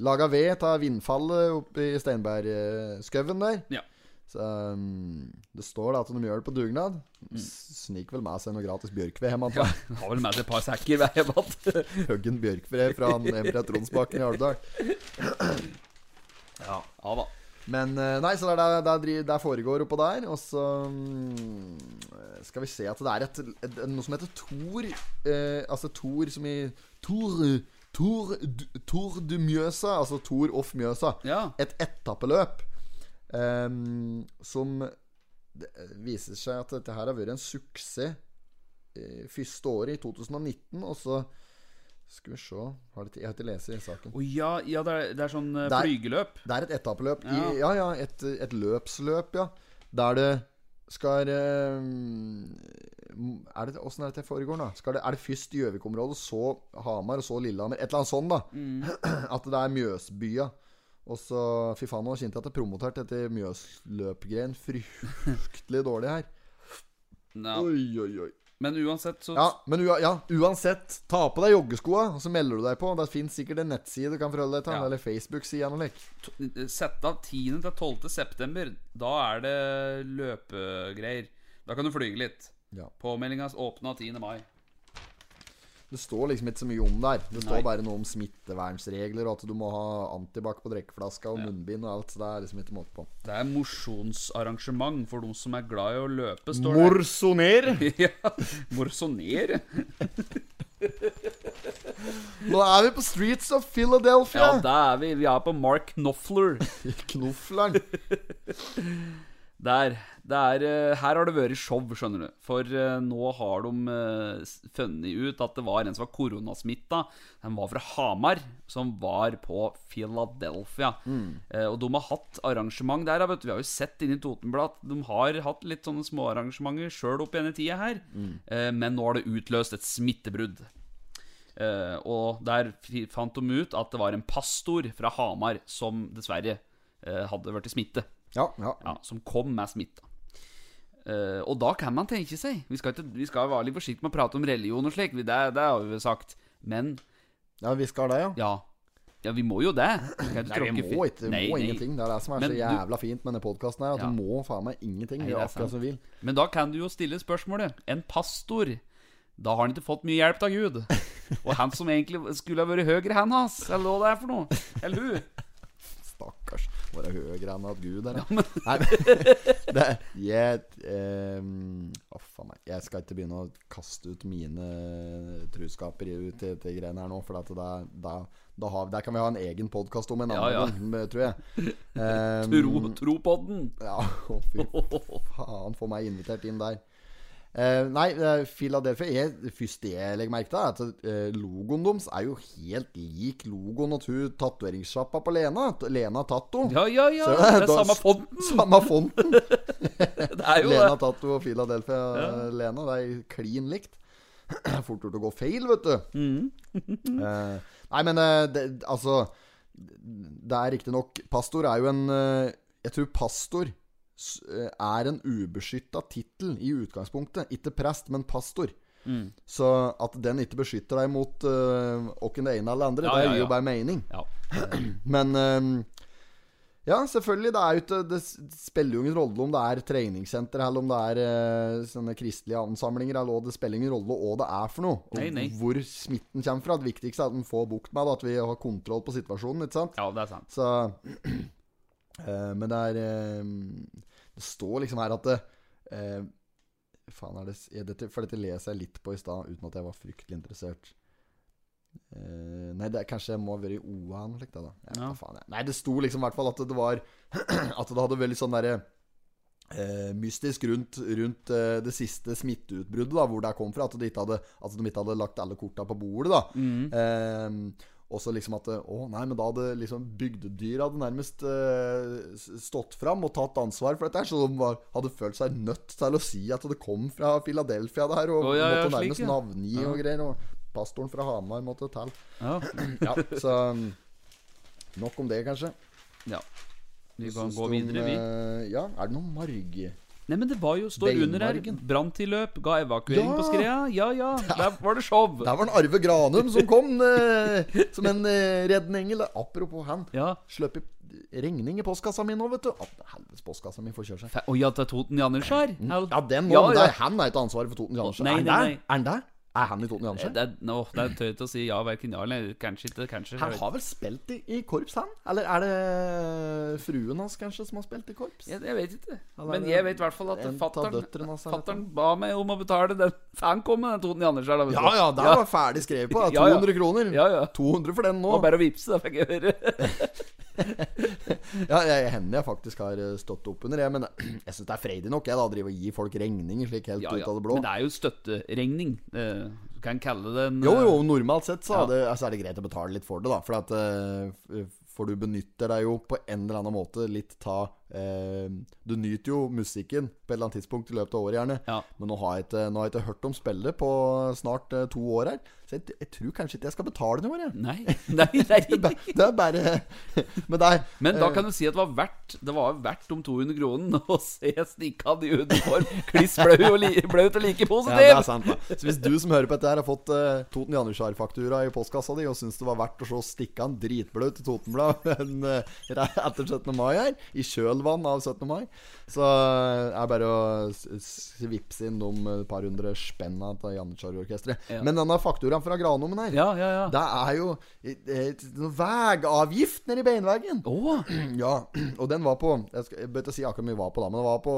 Speaker 1: lage ved ta vindfallet oppe i Steinbergskauen der.
Speaker 2: Ja.
Speaker 1: Så eh, Det står da at de gjør det på dugnad. Mm. Sniker vel med seg noe gratis bjørkved hjem. antar jeg.
Speaker 2: Har vel med seg et par sekker hver batt.
Speaker 1: Høggen Bjørkfred fra han Emre Tronsbakken i Alvdal.
Speaker 2: Ja. ja da.
Speaker 1: Men eh, nei, så det, er der- der dri- der foregår oppå der. Og så mm, skal vi se at det er et, et, noe som heter Tor. Eh, altså Tor som i Tor Tor, d- Tor du Mjøsa. Altså Tor off Mjøsa.
Speaker 2: Ja.
Speaker 1: Et etappeløp eh, som det eh, viser seg at dette her har vært en suksess eh, første året, i 2019. Og så skal vi se har det, Jeg har ikke lest i saken.
Speaker 2: Å ja, ja det, er, det er sånn eh,
Speaker 1: Der.
Speaker 2: flygeløp.
Speaker 1: Det er et etappeløp. Ja,
Speaker 2: Ja.
Speaker 1: i, ja, ja et, et løpsløp, ja. Der det skal eh, m- er det, Åssen er det det foregår, da? Skal det, er det først Gjøvik-området, så Hamar, og så Lillehammer? Et eller annet sånn, da.
Speaker 2: Mm.
Speaker 1: At det er Mjøsbya. Og så Fy faen, nå kjente jeg at jeg promoterte dette Mjøsløpgreien fryktelig dårlig her.
Speaker 2: Ja.
Speaker 1: Oi, oi, oi.
Speaker 2: Men uansett så
Speaker 1: Ja, men ua, ja, uansett, ta på deg joggeskoa, og så melder du deg på. Det fins sikkert en nettside du kan forholde deg til,
Speaker 2: Ja.
Speaker 1: eller Facebook-side eller noe.
Speaker 2: t- Sett av 10. til 12. september. Da er det løpegreier. Da kan du flyge litt.
Speaker 1: Ja.
Speaker 2: Påmeldinga åpna 10. mai.
Speaker 1: Det står liksom ikke så mye om der. Det står
Speaker 2: Nei.
Speaker 1: bare noe om smittevernsregler, og at du må ha antibac på drikkeflaska og munnbind og alt. Så det er liksom ikke måte på.
Speaker 2: Det er mosjonsarrangement for de som er glad i å løpe, står det.
Speaker 1: Morsoner!
Speaker 2: Ja, morsonere.
Speaker 1: Nå er vi på streets of
Speaker 2: Ja,
Speaker 1: Philadelphia!
Speaker 2: da er vi. Vi er på Mark Knopfler.
Speaker 1: Knofleren.
Speaker 2: Der. Det er, eh, her har det vært show, skjønner du. For eh, nå har de eh, s- funnet ut at det var en som var koronasmitta. Han var fra Hamar, som var på Philadelphia. Eh, og de har hatt arrangement der. ja, Vet du. Vi har jo sett inni Totenblad at de har hatt litt sånne småarrangementer sjøl opp igjen i tida her. Eh, men nå har det utløst et smittebrudd. Eh, og der fi- fant de ut at det var en pastor fra Hamar som dessverre eh, hadde vært i smitte
Speaker 1: Ja, ja.
Speaker 2: ja, som kom med smitta. Eh, og da kan man tenke seg Vi skal, ikke, vi skal være litt forsiktige med å prate om religion og slik, det, det har vi vel sagt. Men
Speaker 1: ja vi skal det, ja.
Speaker 2: ja. Ja, vi må jo det. Vi kan
Speaker 1: Nei,
Speaker 2: ikke
Speaker 1: vi
Speaker 2: tråkke
Speaker 1: må
Speaker 2: fi-
Speaker 1: ikke. Vi
Speaker 2: Nei,
Speaker 1: må
Speaker 2: nei.
Speaker 1: ingenting. Det er det som er
Speaker 2: Men
Speaker 1: så
Speaker 2: du-
Speaker 1: jævla fint med denne podkasten her, at
Speaker 2: Ja.
Speaker 1: du må faen meg ingenting.
Speaker 2: Nei,
Speaker 1: Gjøre
Speaker 2: det er
Speaker 1: akkurat
Speaker 2: sant.
Speaker 1: som du vil.
Speaker 2: Men da kan du jo stille spørsmålet. En pastor, da har han ikke fått mye hjelp av Gud. Og han som egentlig skulle ha vært høyre hand hans, eller hva det er for noe. Eller hun.
Speaker 1: Stakkars. Bare høyere enn at Gud er det. Nei, men det, Jeg ehm, Å, faen meg. Jeg skal ikke begynne å kaste ut mine truskaper i- ut til, til greiene her nå, for at det, er- da, da har, der kan vi ha en egen podkast om en
Speaker 2: Ja,
Speaker 1: annen
Speaker 2: ja.
Speaker 1: gang, tror jeg. Ehm,
Speaker 2: Tro, tro på den.
Speaker 1: ja, å, fy faen, få meg invitert inn der. Eh, nei, eh, Philadelphia jeg, Det første jeg legger merke til, er at eh, logoen deres er jo helt lik logoen til tatoveringssjappa på Lena. T- Lena Tatto.
Speaker 2: Ja, ja, ja.
Speaker 1: Så
Speaker 2: Det er
Speaker 1: da-
Speaker 2: samme fonten.
Speaker 1: Samme fonten.
Speaker 2: Det er jo
Speaker 1: Lena
Speaker 2: det.
Speaker 1: Tatto og Philadelphia eh,
Speaker 2: Mm.
Speaker 1: Lena. Det er klin likt. Fort gjort å gå feil, vet du. eh, Nei, men eh, det, altså Det er riktignok Pastor er jo en eh, Jeg tror pastor s- eh, er en ubeskytta tittel i utgangspunktet. Ikke prest, men pastor.
Speaker 2: Mm.
Speaker 1: Så at den ikke beskytter deg mot eh, åkken det ene eller det andre,
Speaker 2: Ja,
Speaker 1: det
Speaker 2: ja,
Speaker 1: gir
Speaker 2: ja.
Speaker 1: jo bare mening.
Speaker 2: Ja.
Speaker 1: Men eh, ja, selvfølgelig. Det, er jo ikke, det s- spiller jo ingen rolle om det er treningssenter, eller om det er eh, sånne kristelige ansamlinger, eller hva det spiller ingen rolle hva det er for noe. Og
Speaker 2: Nei, nei.
Speaker 1: hvor smitten kommer fra. Det viktigste er at den får bukt med det, at vi har kontroll på situasjonen, ikke sant?
Speaker 2: ja, det er sant.
Speaker 1: Så eh, Men det er eh, Det står liksom her at det eh, Faen, er det s- er dette, For dette leser jeg litt på i stad, uten at jeg var fryktelig interessert. Eh, nei, det er, kanskje jeg må ha vært i OA eller noe slikt. da, da. Jeg vet
Speaker 2: Ja.
Speaker 1: da faen, jeg. Nei, det sto liksom i hvert fall at det var At det hadde veldig sånn derre eh, mystisk rundt, rundt eh, det siste smitteutbruddet, da, hvor det kom fra. At de ikke hadde, at de ikke hadde lagt alle korta på bordet. da
Speaker 2: Mm.
Speaker 1: eh, Og så liksom at eh, Å nei, men da hadde liksom bygdedyra hadde nærmest eh, s- stått fram og tatt ansvar for dette. her Så de var, hadde følt seg nødt til å si at det kom fra Philadelphia der, og
Speaker 2: Å, ja, ja,
Speaker 1: måtte
Speaker 2: slik,
Speaker 1: nærmest
Speaker 2: ja.
Speaker 1: navngi
Speaker 2: Ja.
Speaker 1: og greier. Og pastoren fra Hamar måtte til.
Speaker 2: Ja.
Speaker 1: Ja, så mm, Nok om det, kanskje.
Speaker 2: ja. Vi kan
Speaker 1: Syns
Speaker 2: gå
Speaker 1: du om,
Speaker 2: videre, vi.
Speaker 1: eh, Ja, er det noe marg?
Speaker 2: Nei, men det var jo står under her.
Speaker 1: Beinmargen.
Speaker 2: Branntilløp, ga evakuering
Speaker 1: Ja.
Speaker 2: på skreia. Ja ja, der var det show.
Speaker 1: Der var den Arve Granum som kom eh, som en eh, reddende engel. Apropos han.
Speaker 2: Ja.
Speaker 1: Sløp i regning i postkassa mi nå, vet du. At helvetes, postkassa mi får kjøre seg.
Speaker 2: Fe- Å ja, til Toten Janusjar?
Speaker 1: Mm. Ja, den må,
Speaker 2: Ja,
Speaker 1: men
Speaker 2: ja.
Speaker 1: det er- Han er ikke ansvaret for Toten Jansje.
Speaker 2: Nei,
Speaker 1: er han
Speaker 2: nei,
Speaker 1: der?
Speaker 2: nei.
Speaker 1: Er han der? Er han i Toten Jansje?
Speaker 2: Det er, nå, det er tøyt å si ja, verken ja eller kanskje ikke. Kanskje.
Speaker 1: Han har vel spilt i, i korps, han? Eller er det fruen hans kanskje som har spilt i korps?
Speaker 2: Jeg, jeg vet ikke.
Speaker 1: Han er
Speaker 2: Men
Speaker 1: jo
Speaker 2: jeg vet i hvert fall at
Speaker 1: en av døtrene hans, eller
Speaker 2: fattern ba meg om å betale den. Han kom med den Toten Janusjar, da. vet
Speaker 1: Ja
Speaker 2: du.
Speaker 1: ja, der var ferdig skrevet på. da.
Speaker 2: Ja, ja.
Speaker 1: 200 kroner.
Speaker 2: Ja, ja.
Speaker 1: 200 for den
Speaker 2: Det
Speaker 1: nå.
Speaker 2: var bare å vippse, det fikk jeg høre.
Speaker 1: Ja, jeg, henne jeg faktisk har eh, stått opp under, jeg. Men jeg syns det er freidig nok, jeg, da. å Drive og gi folk regninger slik helt
Speaker 2: Ja,
Speaker 1: ut
Speaker 2: ja.
Speaker 1: av det blå.
Speaker 2: Men det er jo støtteregning. Eh, Du kan kalle det en
Speaker 1: Jo,
Speaker 2: eh,
Speaker 1: jo, normalt sett så
Speaker 2: Ja.
Speaker 1: er, det, altså er det greit å betale litt for det, da. For, at, eh, f- for du benytter deg jo på en eller annen måte litt ta eh, Du nyter jo musikken på et eller annet tidspunkt i løpet av året, gjerne.
Speaker 2: Ja.
Speaker 1: Men nå har jeg ikke, nå har jeg ikke hørt om spillet på snart eh, to år her, så jeg, jeg tror kanskje ikke jeg skal betale noe, jeg.
Speaker 2: Nei, nei, nei.
Speaker 1: Det er bare Men det er
Speaker 2: Men da kan du si at det var verdt Det var verdt om 200 kronene å se Snikkan i uniform kliss blau og li, blaut og like
Speaker 1: ja, det
Speaker 2: positiv!
Speaker 1: er sant, da. Så hvis du som hører på dette, her har fått eh, Toten Janusjar-faktura i postkassa di og syns det var verdt å se Stikkan dritblaut i Totenblad en, eh, etter 17. mai her, i kjølvann av 17. mai, så eh, er det bare å s- s- vippse inn de eh, par hundre spenna til Janusjar-orkesteret.
Speaker 2: Ja.
Speaker 1: Men denne fakturaen fra Granomen her,
Speaker 2: ja, ja, ja.
Speaker 1: det er jo eh, noe veiavgift nede i beinveggen.
Speaker 2: Å!
Speaker 1: Ja, og den var på Jeg, skal, jeg bør ikke si akkurat hvor mye den var på, da, men den var på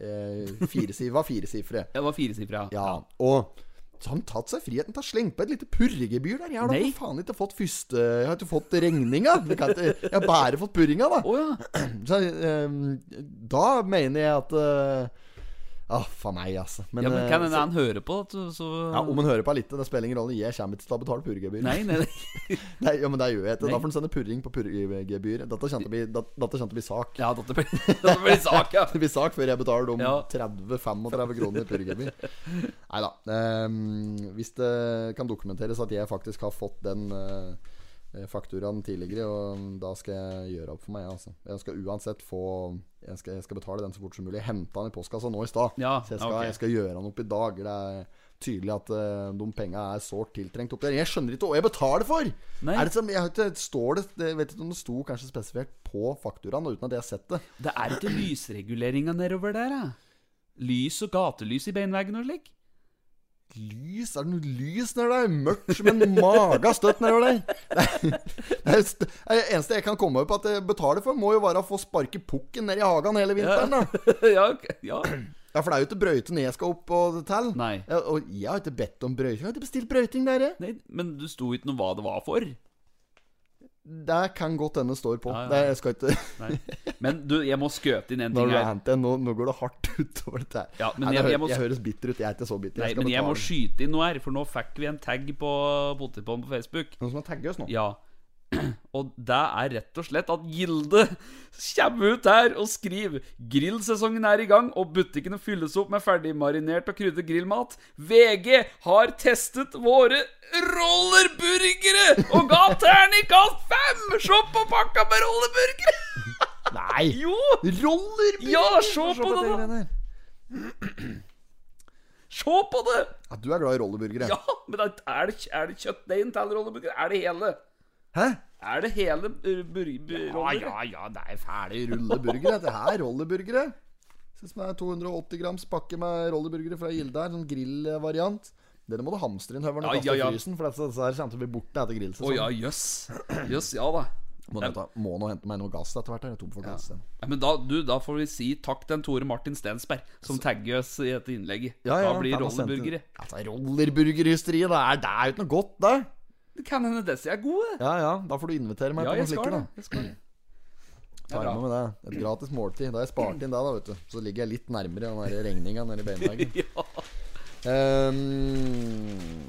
Speaker 1: eh, fire, si- var firesifre.
Speaker 2: det var firesifra.
Speaker 1: Ja, og så har han tatt seg friheten til å slenge på et lite purregebyr der. Jeg har da
Speaker 2: Nei.
Speaker 1: for faen ikke fått første Jeg har ikke fått regninga. Jeg, kan ikke, jeg har bare fått purringa, da.
Speaker 2: Å ja.
Speaker 1: Så, eh, da mener jeg at eh, Ah, faen meg, altså. Men,
Speaker 2: ja men kan
Speaker 1: eh,
Speaker 2: hende
Speaker 1: så,
Speaker 2: han hører på, så, så
Speaker 1: ja, om han hører på litt, det spiller ingen rolle. Jeg kommer ikke til å betale purregebyr.
Speaker 2: Nei, nei, nei.
Speaker 1: Nei, ja, men det gjør jeg ikke. Da
Speaker 2: Nei.
Speaker 1: får han sende purring på purregebyr. Dette kommer til å bli- dat- dette kommer til å bli sak.
Speaker 2: Ja, dette blir, dette blir sak, ja.
Speaker 1: Det blir sak før jeg betaler om
Speaker 2: Ja.
Speaker 1: 30-35 kroner i purregebyr. Nei da. Ehm, hvis det kan dokumenteres at jeg faktisk har fått den eh, fakturaen tidligere, og da skal jeg gjøre opp for meg. Altså. Jeg skal uansett få jeg skal, jeg skal betale den så fort som mulig. Jeg henta den i postkassa nå i stad,
Speaker 2: Ja,
Speaker 1: så jeg skal,
Speaker 2: ok.
Speaker 1: jeg skal gjøre den opp i dag. Det er tydelig at eh, de penga er sårt tiltrengt oppi der. Jeg skjønner ikke hva jeg betaler for!
Speaker 2: Nei.
Speaker 1: Er det som, jeg, har ikke- står det, jeg vet ikke om det sto kanskje spesifikt på fakturaen, uten at jeg har sett det.
Speaker 2: Det er ikke lysreguleringa nedover der, da. Lys og gatelys i beinveggen og slik.
Speaker 1: Lys? Er det noe lys nedi der? Mørkt som en maga støtt nedover der. Det, er- det, er st- det eneste jeg kan komme opp at jeg betaler for, må jo være å få sparke pukken ned i hagen hele vinteren. da
Speaker 2: ja, ok, ja.
Speaker 1: Ja, For det er jo ikke brøyte når jeg skal opp og til.
Speaker 2: Nei.
Speaker 1: Ja, og jeg har ikke bedt om brøyting. Jeg har ikke bestilt brøyting, dere.
Speaker 2: Nei, men du sto ikke noe hva det var for.
Speaker 1: Det kan godt hende står på.
Speaker 2: Ja, ja.
Speaker 1: Det, jeg skal ikke
Speaker 2: Nei. Men du, jeg må skøte inn en
Speaker 1: Når
Speaker 2: ting
Speaker 1: du
Speaker 2: her.
Speaker 1: henter en, nå, nå går det hardt utover dette her.
Speaker 2: Ja, men
Speaker 1: Nei,
Speaker 2: jeg-
Speaker 1: det hø-
Speaker 2: jeg må-
Speaker 1: jeg høres bitter ut. Jeg er ikke så bitter.
Speaker 2: Nei,
Speaker 1: skal
Speaker 2: men jeg må
Speaker 1: betale.
Speaker 2: skyte inn noe her, for nå fikk vi en tag på Potetpollen på Facebook.
Speaker 1: Noen som har tagget oss nå?
Speaker 2: Ja. Og det er rett og slett at Gilde kommer ut her og skriver Grillsesongen er i gang, og butikkene fylles opp med ferdigmarinert og krydret grillmat. VG har testet våre rollerburgere og ga terningkast fem! Se på pakka med rollerburgere!
Speaker 1: Nei!
Speaker 2: Jo!
Speaker 1: Roller!
Speaker 2: Ja, se på det, da! Se på det!
Speaker 1: Ja, du er glad i rollerburgere.
Speaker 2: Ja, men det er det, er det kjøttdeigen til rollerburgere? Er det hele?
Speaker 1: Hæ?
Speaker 2: Er det hele bur- bur- bur- rollerburgere?
Speaker 1: ja, det er fæle rulleburgere. Dette her er rollerburgere. Ser ut som det er 280 grams pakke med rollerburgere fra Gilde her. Sånn grillvariant. Denne må du hamstre inn, Høveren, og
Speaker 2: Ja,
Speaker 1: kaste i
Speaker 2: ja, ja.
Speaker 1: frysen. For dette, dette her kommer til å bli borte etter
Speaker 2: Å ja,
Speaker 1: grillsesongen.
Speaker 2: jøss. Jøss, ja da.
Speaker 1: Må, nå ta- må nå hente meg noe gass etter hvert. her, Jeg er tom for gass. igjen.
Speaker 2: Ja, men da, du, da får vi si takk til en Tore Martin Stensberg, som tagger oss i dette innlegget. da blir
Speaker 1: den har sendt
Speaker 2: rolleburgere.
Speaker 1: inn- Altså, rollerburgerhysteriet, det er det er jo ikke noe godt, det.
Speaker 2: Det kan hende disse er gode.
Speaker 1: Ja ja, da får du invitere meg på
Speaker 2: Ja,
Speaker 1: noen
Speaker 2: jeg skal
Speaker 1: slikker,
Speaker 2: det.
Speaker 1: da.
Speaker 2: Jeg skal det.
Speaker 1: Ta med meg det. Et gratis måltid. Da har jeg spart inn det, da, vet du. Så ligger jeg litt nærmere den der regninga nede i beinveggen. Ehm,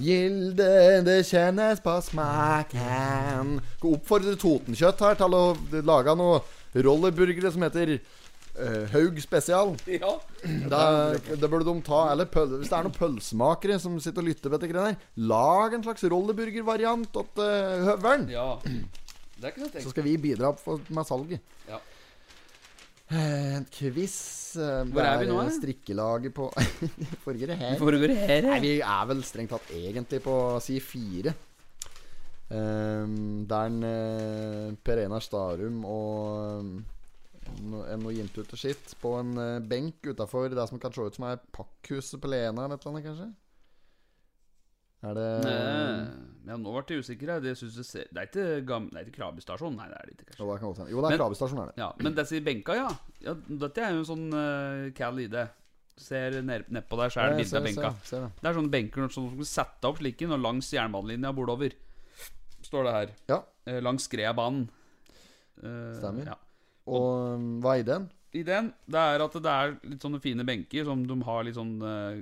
Speaker 1: Gilde, det kjennes på smaken Skal oppfordre Totenkjøtt her til å lage noe rollerburgere som heter eh, Haug spesial.
Speaker 2: Ja.
Speaker 1: Det, det burde de ta. Eller pøl, hvis det er noen pølsemakere som sitter og lytter på dette greiene her, lag en slags eh, rollerburgervariant til høvelen.
Speaker 2: ja. Det kan jeg
Speaker 1: Så
Speaker 2: tenke.
Speaker 1: skal vi bidra for, med salget.
Speaker 2: Ja.
Speaker 1: Eh, En quiz eh,
Speaker 2: Hvor er vi nå,
Speaker 1: eh,
Speaker 2: da?
Speaker 1: Strikkelaget på Forrige her.
Speaker 2: Foregår her,
Speaker 1: Nei,
Speaker 2: her.
Speaker 1: vi er vel strengt tatt egentlig på si fire. Um, der en, eh, Per Einar Starum og um, no, en noe jintute sitt på en eh, benk utafor det som kan se ut som er pakkhuset på Lena eller et eller annet, kanskje? Er det
Speaker 2: Eh, Ja, nå ble jeg usikker. jeg. Det, synes jeg ser... det er ikke, gam... det er ikke Krabbestasjon. Nei, det er det ikke,
Speaker 1: Jo,
Speaker 2: kanskje.
Speaker 1: det kan godt hende. Jo, det
Speaker 2: Men-
Speaker 1: er Kravestasjonen, er det. Eh,
Speaker 2: Ja, men disse benka, ja. ja. Dette er jo en sånn uh, Cal ID. Ser nedpå ned på deg sjæl
Speaker 1: Jeg
Speaker 2: bildet av
Speaker 1: ser-
Speaker 2: benka.
Speaker 1: ser- ser det.
Speaker 2: Det er sånne benker som du kan sette opp slike når langs jernbanelinja bordover. Står det her.
Speaker 1: Ja.
Speaker 2: Eh, langs Skreabanen. Eh,
Speaker 1: Stemmer.
Speaker 2: Ja.
Speaker 1: Og um, hva er ideen?
Speaker 2: Ideen det er at det er litt sånne fine benker som de har litt sånn eh,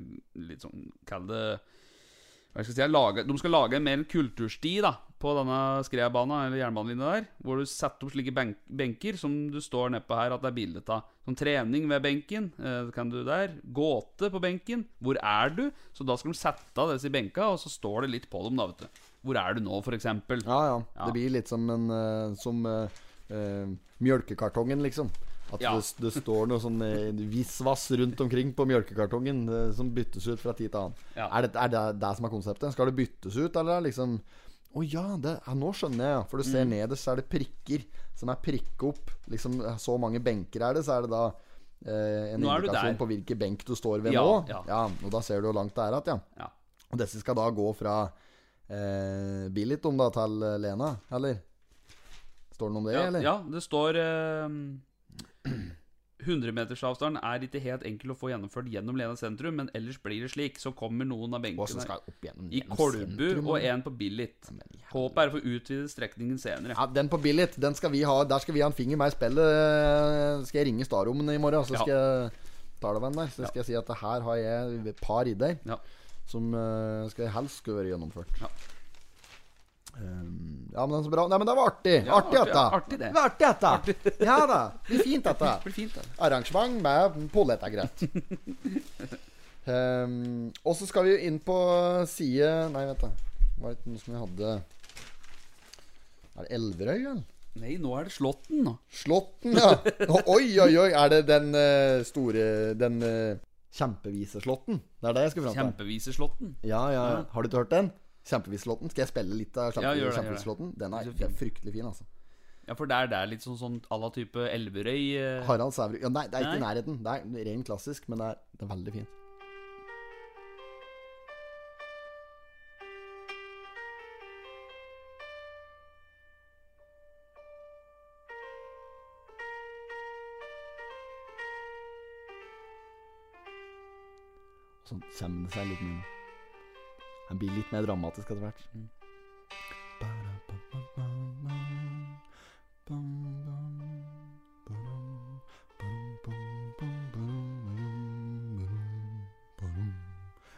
Speaker 2: Litt sånn Kall det Hva skal jeg si lage, De skal lage en mer kultursti da på denne skredbanen eller jernbanelinja der. Hvor du setter opp slike benk benker som du står nedpå her at det er bilde av. Sånn trening ved benken. Eh, kan du der Gåte på benken. Hvor er du? Så da skal de sette av disse benka, og så står det litt på dem, da, vet du. Hvor er du nå, for eksempel?
Speaker 1: Ja, ja.
Speaker 2: Ja.
Speaker 1: Det blir litt som en eh, Som eh, eh, mjølkekartongen, liksom. At
Speaker 2: Ja.
Speaker 1: det, det står noe sånn eh, visvas rundt omkring på mjølkekartongen eh, som byttes ut fra tid til annen.
Speaker 2: Ja.
Speaker 1: Er, det, er det det som er konseptet? Skal det byttes ut, eller er det liksom Å ja, det, ja, nå skjønner jeg, ja. For du ser
Speaker 2: Mm.
Speaker 1: nederst, så er det prikker som er prikket opp. Liksom, så mange benker er det, så er det da eh, en
Speaker 2: Nå er du
Speaker 1: indikasjon
Speaker 2: der.
Speaker 1: på hvilken benk du står ved
Speaker 2: Ja,
Speaker 1: nå.
Speaker 2: ja.
Speaker 1: og da ser du hvor langt det er igjen, ja.
Speaker 2: Ja.
Speaker 1: Og disse skal da gå fra eh, Billiton da til eh, Lena, eller? Står det noe om det,
Speaker 2: Ja,
Speaker 1: eller?
Speaker 2: ja det står eh, 100-metersavstanden er ikke helt enkel å få gjennomført gjennom Lena sentrum, men ellers blir det slik. Så kommer noen
Speaker 1: Og
Speaker 2: av
Speaker 1: så
Speaker 2: benkene
Speaker 1: skal jeg opp gjennom
Speaker 2: i
Speaker 1: gjennom
Speaker 2: Kolbu
Speaker 1: sentrum,
Speaker 2: og
Speaker 1: eller?
Speaker 2: en på Billit.
Speaker 1: Men i hel-
Speaker 2: Håpet er å få utvidet strekningen senere.
Speaker 1: Ja, den på Billit, den skal vi ha Der skal vi ha en finger med i spillet. eh, Skal jeg ringe Starrommen i morgen, så
Speaker 2: Ja.
Speaker 1: skal jeg ta det med en der. Så skal jeg si at det her har jeg et par ideer
Speaker 2: Ja.
Speaker 1: som eh, skal helst skulle være gjennomført.
Speaker 2: Ja.
Speaker 1: Um, ja, men den er så bra. Nei, men det var artig.
Speaker 2: Ja,
Speaker 1: artig,
Speaker 2: artig,
Speaker 1: dette.
Speaker 2: artig det.
Speaker 1: Det var artig, dette. Ja da. Det blir fint, dette.
Speaker 2: Det blir fint, da.
Speaker 1: Arrangement med Pollet er greit. Ehm, og så skal vi jo inn på side Nei, vent, da. Var det noe som vi hadde Er det Elverøy, eller?
Speaker 2: Nei, nå er det Slåtten, nå.
Speaker 1: Slåtten, ja. Å, Oi, oi, oi. Er det den eh, store Den eh, kjempevise Slåtten? Det er det jeg skulle fram til.
Speaker 2: Kjempeviseslåtten.
Speaker 1: Ja, ja.
Speaker 2: Ja.
Speaker 1: Har du ikke hørt den? Kjempevislåtten. Skal jeg spille litt av
Speaker 2: Ja, gjør det, gjør det.
Speaker 1: Kjempevislåtten? Den er,
Speaker 2: Den
Speaker 1: den
Speaker 2: er fin.
Speaker 1: er fryktelig fin, altså.
Speaker 2: Ja, for der det er litt sånn sånn à la type Elverøy eh,
Speaker 1: Harald Sæverud ja, Nei, det er ikke i
Speaker 2: Nei.
Speaker 1: nærheten. Det er ren klassisk, men det er, det er veldig fin. Og så kommer det seg litt mer. Den blir litt mer dramatisk etter hvert.
Speaker 2: Mm.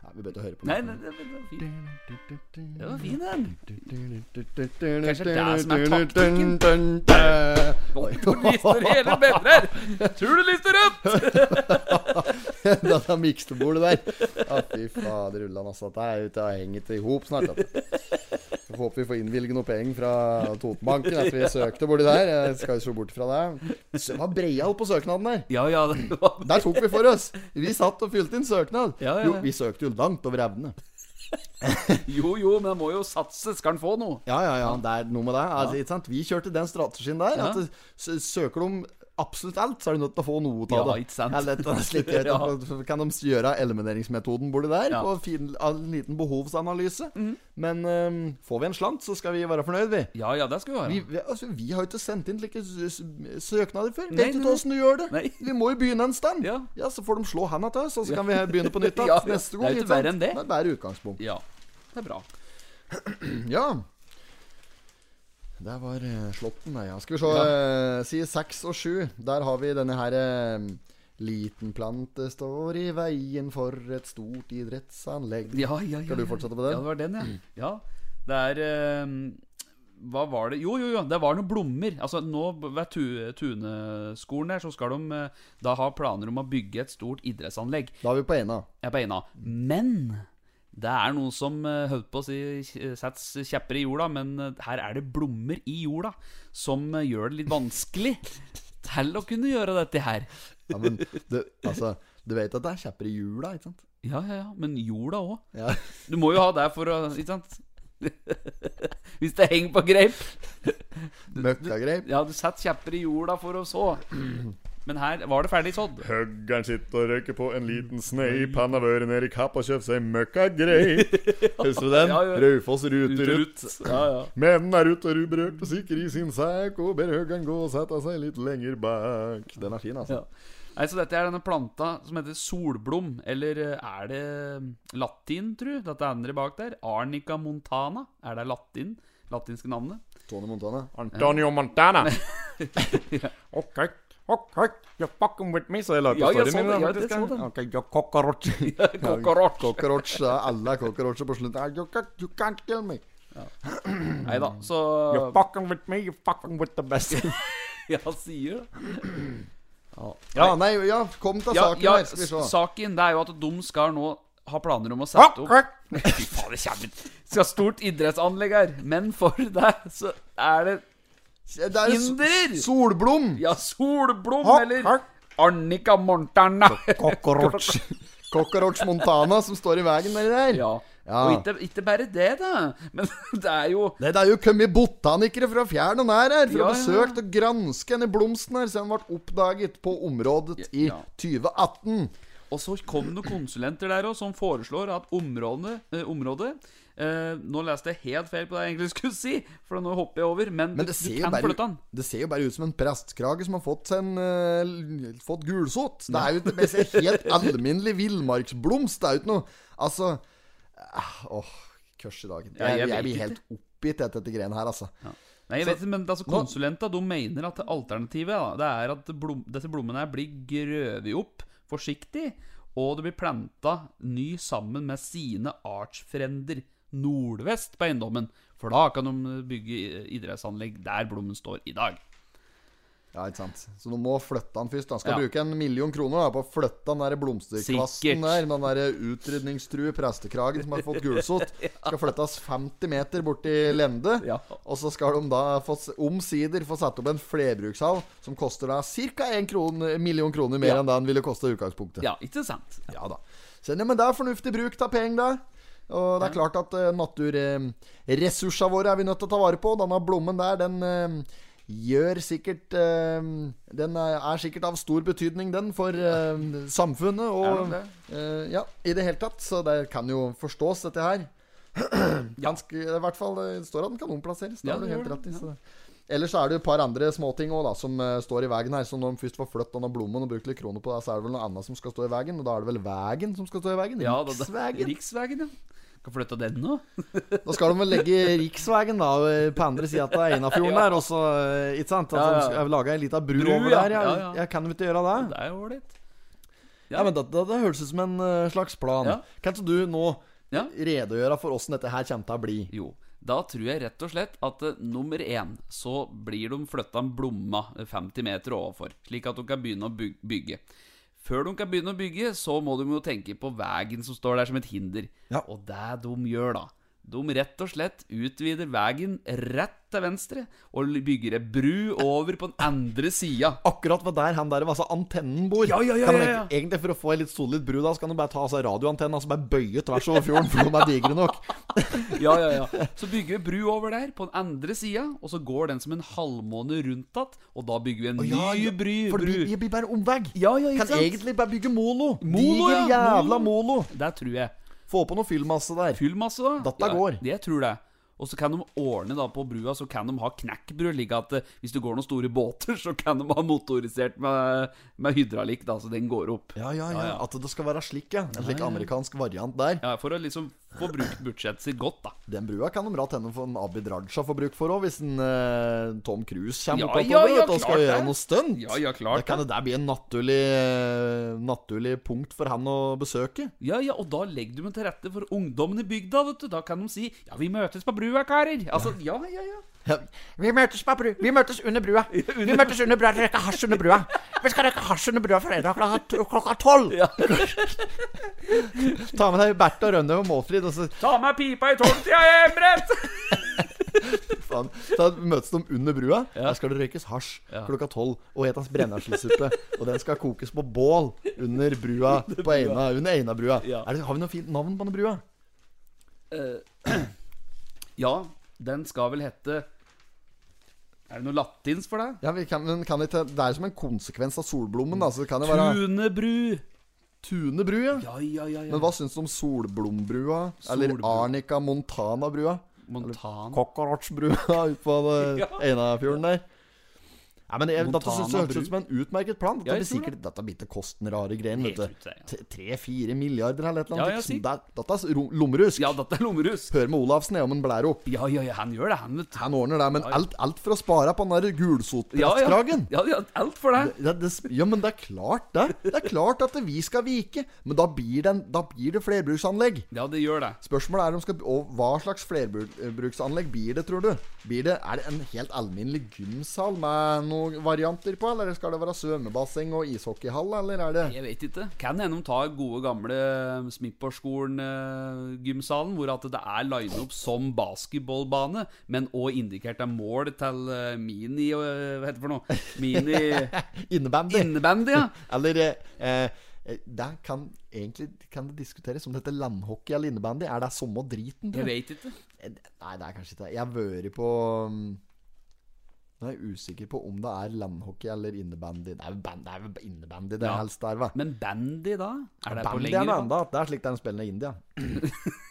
Speaker 1: Ja, vi begynte å høre på
Speaker 2: Nei, nei, det, det var fint. Det var fin, den.
Speaker 1: Kanskje
Speaker 2: det er som er taktikken? Du lister hele bedrer. Tror du lister rødt?
Speaker 1: Da er miksebordet der. Ja, fy fader ullan, altså. Dette er ute og henger til i hop snart. Altså. Jeg håper vi får innvilget noe penger fra Totenbanken etter vi søkte borti der. Jeg skal jo se bort fra det. Det var Breial på søknaden der.
Speaker 2: Ja, ja, det var
Speaker 1: Der tok vi for oss. Vi satt og fylte inn søknad.
Speaker 2: Ja, ja, ja.
Speaker 1: Jo, vi søkte jo langt over evne.
Speaker 2: Jo, jo, men han må jo satse. Skal han få noe?
Speaker 1: Ja, ja, ja. Det er noe med det. Altså, ikke sant? Vi kjørte den strategien der.
Speaker 2: Ja.
Speaker 1: At det- s- søker du om absolutt alt, så er du nødt til å få noe ut av
Speaker 2: Ja,
Speaker 1: det.
Speaker 2: ikke sant?
Speaker 1: Eller et eller annet slikt. Jeg vet
Speaker 2: Ja.
Speaker 1: ikke, for Kan de gjøre elimineringsmetoden borti der?
Speaker 2: Ja. Mm.
Speaker 1: På fin, en liten behovsanalyse. Men øhm, får vi en slant, så skal vi være fornøyd, vi.
Speaker 2: Ja, ja, det skal vi ha.
Speaker 1: Vi,
Speaker 2: ja.
Speaker 1: vi, altså, vi har jo ikke sendt inn slike s- s- søknader før.
Speaker 2: Nei,
Speaker 1: Vet du
Speaker 2: nei,
Speaker 1: ikke åssen du gjør det?
Speaker 2: Nei.
Speaker 1: Vi må jo begynne en stand.
Speaker 2: Ja.
Speaker 1: så får de slå handa til oss, og så kan vi begynne på nytt
Speaker 2: Ja,
Speaker 1: igjen neste gang.
Speaker 2: det er jo ikke verre enn det.
Speaker 1: Det er bare utgangspunkt.
Speaker 2: Ja, det er bra. Mm.
Speaker 1: Ja. Der var eh, Slåtten, nei, ja. Skal vi se. eh, Side seks og sju. Der har vi denne her eh, Liten plante står i veien for et stort idrettsanlegg.
Speaker 2: Ja, ja, ja.
Speaker 1: Skal du
Speaker 2: ja.
Speaker 1: fortsette på den?
Speaker 2: Ja, det var den, ja. ja. Det er ehm, Hva var det Jo, jo, jo, det var noen blommer. Altså, nå ved Tu- Tuneskolen der, så skal de eh, da ha planer om å bygge et stort idrettsanlegg.
Speaker 1: Da er vi på ena.
Speaker 2: Jeg er på ena. Men det er noen som eh, holdt på å si eh, setter kjepper i jorda, men eh, her er det blommer i jorda som eh, gjør det litt vanskelig til å kunne gjøre dette her.
Speaker 1: Ja, men du, altså, du vet at det er kjepper i hjula, ikke sant?
Speaker 2: Ja, ja, ja, men jorda òg.
Speaker 1: Ja.
Speaker 2: Du må jo ha det for å Ikke sant? Hvis det henger på greip.
Speaker 1: Møkkagreip.
Speaker 2: Ja, du setter kjepper i jorda for å så. Men her var det ferdig sådd.
Speaker 6: Høggeren sitter og røyker på en
Speaker 2: Mm.
Speaker 6: liten sneip. Han har vært nede i Kapp og kjøpt seg møkkagreit. Husker du den?
Speaker 2: Ja, ja.
Speaker 6: Raufoss Ruterut.
Speaker 2: Ut. Ja, ja.
Speaker 6: Mennene er ute og ruberørt og sikker i sin sekk, og ber høggeren gå og sette seg litt lenger bak.
Speaker 1: Den er fin, altså.
Speaker 2: Ja. Nei, så dette er denne planta som heter solblom, eller eh, er det eh, latin, tru? Dette andre bak der. Arnica montana. Er det latin? Latinske navnet?
Speaker 1: Tony Montana.
Speaker 6: Antonio Montana. ok, ok, you're fucking with me, så jeg
Speaker 2: Ja, jeg så det, ja, det så den.
Speaker 6: Ok, you're cockroach.
Speaker 2: Kokorot.
Speaker 1: Cockroach. det er Alle er cockroacher på slutten. Ah, You can't, you can't kill me.
Speaker 2: Nei da, så
Speaker 6: You're fucking with me, you're fucking with the best.
Speaker 2: Ja, sier det.
Speaker 1: Ja, nei, ja, kom til
Speaker 2: Ja,
Speaker 1: saken
Speaker 2: ja,
Speaker 1: her, skal vi se.
Speaker 2: saken det er jo at de skal nå ha planer om å sette opp Fy faen, det kommer Skal ha stort idrettsanlegg her. Men for deg så er det
Speaker 1: Det er jo
Speaker 2: Hinder!
Speaker 1: s- Solblom.
Speaker 2: Ja, solblom,
Speaker 6: Hakk,
Speaker 2: eller
Speaker 6: hakk.
Speaker 2: Arnica montana.
Speaker 6: Cockroach.
Speaker 1: Cockroach Montana som står i veien nedi der.
Speaker 2: Ja.
Speaker 1: Ja.
Speaker 2: Og ikke, ikke bare det, da. Men det er jo
Speaker 1: Nei, det er jo kommet botanikere fra fjern og nær her for
Speaker 2: Ja,
Speaker 1: å
Speaker 2: ja,
Speaker 1: besøke og granske denne blomsten her, siden den ble oppdaget på området i
Speaker 2: Ja.
Speaker 1: 2018.
Speaker 2: Og så kom det noen konsulenter der òg som foreslår at området, eh, området eh, Nå leste jeg helt feil på det jeg egentlig skulle si, for nå hopper jeg over. Men,
Speaker 1: Men
Speaker 2: du,
Speaker 1: det ser,
Speaker 2: du
Speaker 1: jo
Speaker 2: kan
Speaker 1: bare,
Speaker 2: flytte den.
Speaker 1: det ser jo bare ut som en prestkrage som har fått seg en eh, Fått gulsott. Det er jo ikke det ser helt alminnelig villmarksblomst. Det er jo ikke noe Altså eh, Åh, kørs i dag.
Speaker 2: Ja,
Speaker 1: Jeg,
Speaker 2: jeg
Speaker 1: jeg
Speaker 2: vet
Speaker 1: blir
Speaker 2: ikke.
Speaker 1: helt oppgitt etter dette greiene her, altså.
Speaker 2: Nei, jeg
Speaker 1: Så-
Speaker 2: vet ikke, men altså, Konsulenter de mener at alternativet da, Det er at blom, disse blommene her blir grøvet opp forsiktig, og det blir planta ny sammen med sine artsfrender nordvest på eiendommen. For da kan de bygge idrettsanlegg der blommen står i dag.
Speaker 1: Ja, ikke sant. Så du må flytte han først. Han skal
Speaker 2: Ja.
Speaker 1: bruke en million kroner da, på å flytte den der blomsterkvasten
Speaker 2: Sikkert.
Speaker 1: der. Den der utrydningstrue prestekragen som har fått gulsott. Skal flyttes 50 meter bort til Lende.
Speaker 2: Ja.
Speaker 1: Og så skal de da få, s- omsider få satt opp en flerbrukshall som koster da ca. 1 kron, million kroner mer
Speaker 2: Ja.
Speaker 1: enn det den ville koste i utgangspunktet.
Speaker 2: Ja, ikke sant?
Speaker 1: Ja da. Så, nei, men det er fornuftig bruk av penger, da. Og det er klart at uh, naturressursene våre er vi nødt til å ta vare på. Denne blommen der, den eh, gjør sikkert eh, Den er, er sikkert av stor betydning, den, for eh, samfunnet
Speaker 2: Er
Speaker 1: og
Speaker 2: det
Speaker 1: eh, Ja, i det hele tatt. Så det kan jo forstås, dette her. Ganske, I hvert fall eh, står at den kan omplasseres. Det
Speaker 2: Ja,
Speaker 1: har du
Speaker 2: det
Speaker 1: helt
Speaker 2: gjør
Speaker 1: rett
Speaker 2: det,
Speaker 1: i.
Speaker 2: ja.
Speaker 1: så det- Ellers så er det jo et par andre småting også, da, som eh, står i veien her. Så når de først får flyttet denne blommen og brukt litt kroner på det, så er det vel noe annet som skal stå i veien. Og da er det vel vegen som skal stå i veien?
Speaker 2: Ja, da, da,
Speaker 1: riksvegen.
Speaker 2: Riksvegen, ja. Kan flytte den nå?
Speaker 1: Da skal de vel legge riksvegen da eh, på andre sida av Einafjorden der, og så eh, Ikke sant? At
Speaker 2: Ja, ja.
Speaker 1: de skal lage ei lita bru,
Speaker 2: Bru,
Speaker 1: over
Speaker 2: ja.
Speaker 1: der. Jeg,
Speaker 2: Ja, ja.
Speaker 1: jeg kan jo ikke gjøre det.
Speaker 2: Det er jo ålreit.
Speaker 1: Ja, men Dette det høres ut som en eh, slags plan.
Speaker 2: Ja.
Speaker 1: Kan ikke du nå
Speaker 2: Ja.
Speaker 1: redegjøre for åssen dette her kommer til å bli?
Speaker 2: Jo, da tror jeg rett og slett at eh, nummer én, så blir de flytta en blomma eh, 50 meter overfor, slik at de kan begynne å byg- bygge. Før de kan begynne å bygge, så må de jo tenke på veien som står der som et hinder.
Speaker 1: Ja.
Speaker 2: Og det de gjør da, de rett og slett utvider veien rett til venstre, og l- bygger ei bru over på den andre sida.
Speaker 1: Akkurat ved der han der altså antennen bor.
Speaker 2: Ja, ja, ja,
Speaker 1: kan du
Speaker 2: ja,
Speaker 1: egentlig-
Speaker 2: ja.
Speaker 1: Egentlig For å få ei litt solid bru, da Så kan du bare ta altså, radioantennen altså, bare bøye tvers over fjorden, for de er digre nok.
Speaker 2: Ja, ja, ja. Så bygger vi bru over der, på den andre sida, og så går den som en halvmåne rundt att, og da bygger vi en
Speaker 1: Ja,
Speaker 2: ny
Speaker 1: ja,
Speaker 2: bry,
Speaker 1: For det
Speaker 2: bru.
Speaker 1: blir- det blir bare omvei.
Speaker 2: Ja, ja, ikke
Speaker 1: Kan
Speaker 2: sant?
Speaker 1: egentlig bare bygge molo.
Speaker 2: Molo,
Speaker 1: Diger
Speaker 2: ja,
Speaker 1: jævla
Speaker 2: molo.
Speaker 1: molo.
Speaker 2: Det tror jeg.
Speaker 1: Få på noe fyllmasse der.
Speaker 2: Fyll masse, da.
Speaker 1: Dette går.
Speaker 2: Det tror det. Og så kan de ordne da på brua, så kan de ha knekkbru. Like at eh, hvis du går noen store båter, så kan de ha motorisert med, med hydraulikk, da, så den går opp.
Speaker 1: Ja, ja, ja,
Speaker 2: Ja, ja.
Speaker 1: At det skal være slik, ja. En slik amerikansk variant der.
Speaker 2: Ja, For å liksom få brukt budsjettet sitt godt, da.
Speaker 1: Den brua kan de rett hende for en Abid Raja får bruk for òg, hvis en eh, Tom Cruise kommer
Speaker 2: Ja,
Speaker 1: opp av
Speaker 2: ja,
Speaker 1: toget og
Speaker 2: ja,
Speaker 1: skal
Speaker 2: klart
Speaker 1: gjøre
Speaker 2: det.
Speaker 1: noe stunt.
Speaker 2: Ja, ja, klart
Speaker 1: Da kan det der bli en naturlig, eh, naturlig punkt for han å besøke.
Speaker 2: Ja, ja, og da legger du dem til rette for ungdommen i bygda, vet du. Da kan de si 'ja, vi møtes på brua, karer'. Altså, ja, ja, ja.
Speaker 7: Vi møtes, på bru. Vi møtes under brua. Vi møtes under brua. Røyke hasj under brua. Vi skal røyke hasj under brua fredag klokka to- klokka tolv.
Speaker 1: Ta med deg Bertha Rønne og Målfrid, og så
Speaker 2: Ta med pipa i tolvtida, Emret!
Speaker 1: faen, så møtes de under brua. Der skal det røykes hasj
Speaker 2: Ja.
Speaker 1: klokka tolv og etas brenneslesuppe. og den skal kokes på bål under brua på Eina, under Einabrua.
Speaker 2: Ja.
Speaker 1: Er det- Har vi noe fint navn på den brua?
Speaker 2: Eh, Ja, den skal vel hete Er det noe latins for deg?
Speaker 1: Ja, vi kan, men kan ikke, Det er jo som en konsekvens av solblommen, da. Så det kan jo være
Speaker 2: Tunebru.
Speaker 1: Tune bru, ja.
Speaker 2: Ja, ja, ja. ja.
Speaker 1: Men hva syns du om Solblombrua? Eller
Speaker 2: Solblom.
Speaker 1: Arnica Montana-brua?
Speaker 2: Montan
Speaker 1: Cockroach-brua ute på det-
Speaker 2: Ja.
Speaker 1: Einafjorden der? Nei, men jeg, Dette synes jeg
Speaker 2: Montana-bru.
Speaker 1: høres ut som en utmerket plan. Dette
Speaker 2: Ja, jeg
Speaker 1: blir
Speaker 2: tror
Speaker 1: sikkert Dette blir til kosten rare greien.
Speaker 2: Helt
Speaker 1: vet
Speaker 2: ut,
Speaker 1: du
Speaker 2: ja, ja.
Speaker 1: T- Tre-fire milliarder eller et eller annet.
Speaker 2: Ja, ja,
Speaker 1: ikke sant?
Speaker 2: si.
Speaker 1: Det- Dette er rom- lommerusk.
Speaker 2: Ja, dette er lommerus.
Speaker 1: Hør med Olafsen jeg, om han blær opp.
Speaker 2: Ja, ja, ja, han gjør det, han, vet du.
Speaker 1: Han ordner det, men alt, alt for å spare på den der
Speaker 2: Ja, ja.
Speaker 1: gulsotprestkragen.
Speaker 2: ja, ja alt for deg.
Speaker 1: Det, det, ja, men det er klart det. Det er klart at vi skal vike. Men da blir det, en- da blir det flerbruksanlegg.
Speaker 2: Ja, det gjør det.
Speaker 1: Spørsmålet er om skal, og hva slags flerbruksanlegg blir det, tror du? Blir det, er det en helt alminnelig gymsal med noen varianter på, eller skal det være svømmebasseng og ishockeyhall, eller er det
Speaker 2: Jeg vet ikke. Kan hende de tar gode, gamle eh, Smipperskolen-gymsalen, hvor at det er line opp som basketballbane, men òg indikert er mål til eh, mini eh, Hva heter det for noe? Mini
Speaker 1: innebandy?
Speaker 2: innebandy, ja.
Speaker 1: eller eh, eh, Det kan egentlig kan det diskuteres om dette landhockey eller innebandy. Er det samme driten? tror du?
Speaker 2: Jeg vet ikke.
Speaker 1: Eh, Nei, det er kanskje ikke det. Jeg har vært på mm, Nå er jeg usikker på om det er landhockey eller innebandy. Det er jo band- det er jo innebandy det
Speaker 2: Ja.
Speaker 1: helst er, hva?
Speaker 2: Men bandy, da? Er det på
Speaker 1: Bandy er
Speaker 2: lengre
Speaker 1: det
Speaker 2: bane?
Speaker 1: enda. Det er slik det er spillende i India.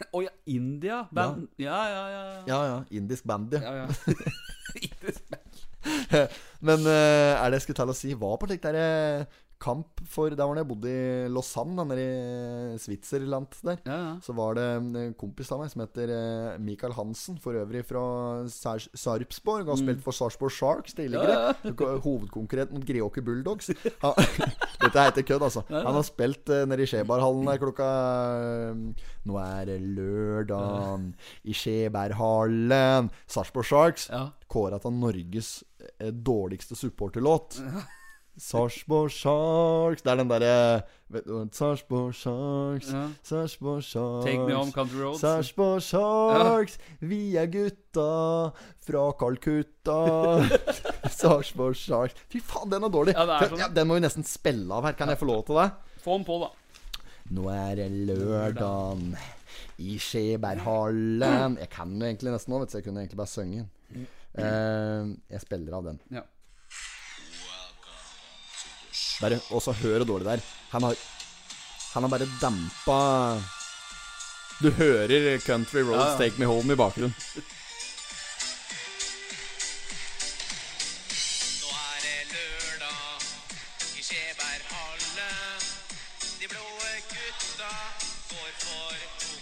Speaker 2: Å ja, India? Band. Ja, ja, ja. ja.
Speaker 1: Ja, ja. Indisk bandy.
Speaker 2: Ja, ja.
Speaker 1: Men eh, er det jeg skulle til å si, var på slik der eh, kamp for Der var det jeg bodde i Lausanne, da, nede i Svitserland der.
Speaker 2: ja, ja.
Speaker 1: Så var det en eh, kompis av meg som heter eh, Michael Hansen, for øvrig fra Sar- Sarpsborg.
Speaker 2: Mm.
Speaker 1: Har spilt for Sarpsborg Sharks tidligere. Hovedkonkurrent mot Greåker Bulldogs. Han, dette er ikke kødd, altså. Han har spilt eh, nede i Skjeberghallen der klokka eh, Nå er det lørdagen i Skjeberghallen. Sarpsborg Sharks
Speaker 2: Ja.
Speaker 1: kåra til Norges eh, dårligste supporterlåt. Sarpsborg Sharks Det er den derre Sarpsborg Sharks,
Speaker 2: Ja.
Speaker 1: Sarpsborg Sharks
Speaker 2: Take me home, country roads.
Speaker 1: Sarpsborg Sharks, vi er gutta fra Calcutta. Sarpsborg Sharks Fy faen, den er dårlig.
Speaker 2: Ja, det er sånn.
Speaker 1: ja, den må vi nesten spille av her. Kan jeg få lov til det?
Speaker 2: Få den på, da.
Speaker 1: Nå er det lørdagen i Skjeberghallen. Jeg kan jo egentlig nesten nå, vet du. så Jeg kunne egentlig bare sunget den. Eh, jeg spiller av den.
Speaker 2: Ja.
Speaker 1: Bare, og så hører dårlig der. Han har Han har bare dempa Du hører Country Roads
Speaker 2: ja.
Speaker 1: Take Me Home i bakgrunnen.
Speaker 4: Nå er det lørdag i Skjeberghallen. De blå gutta går for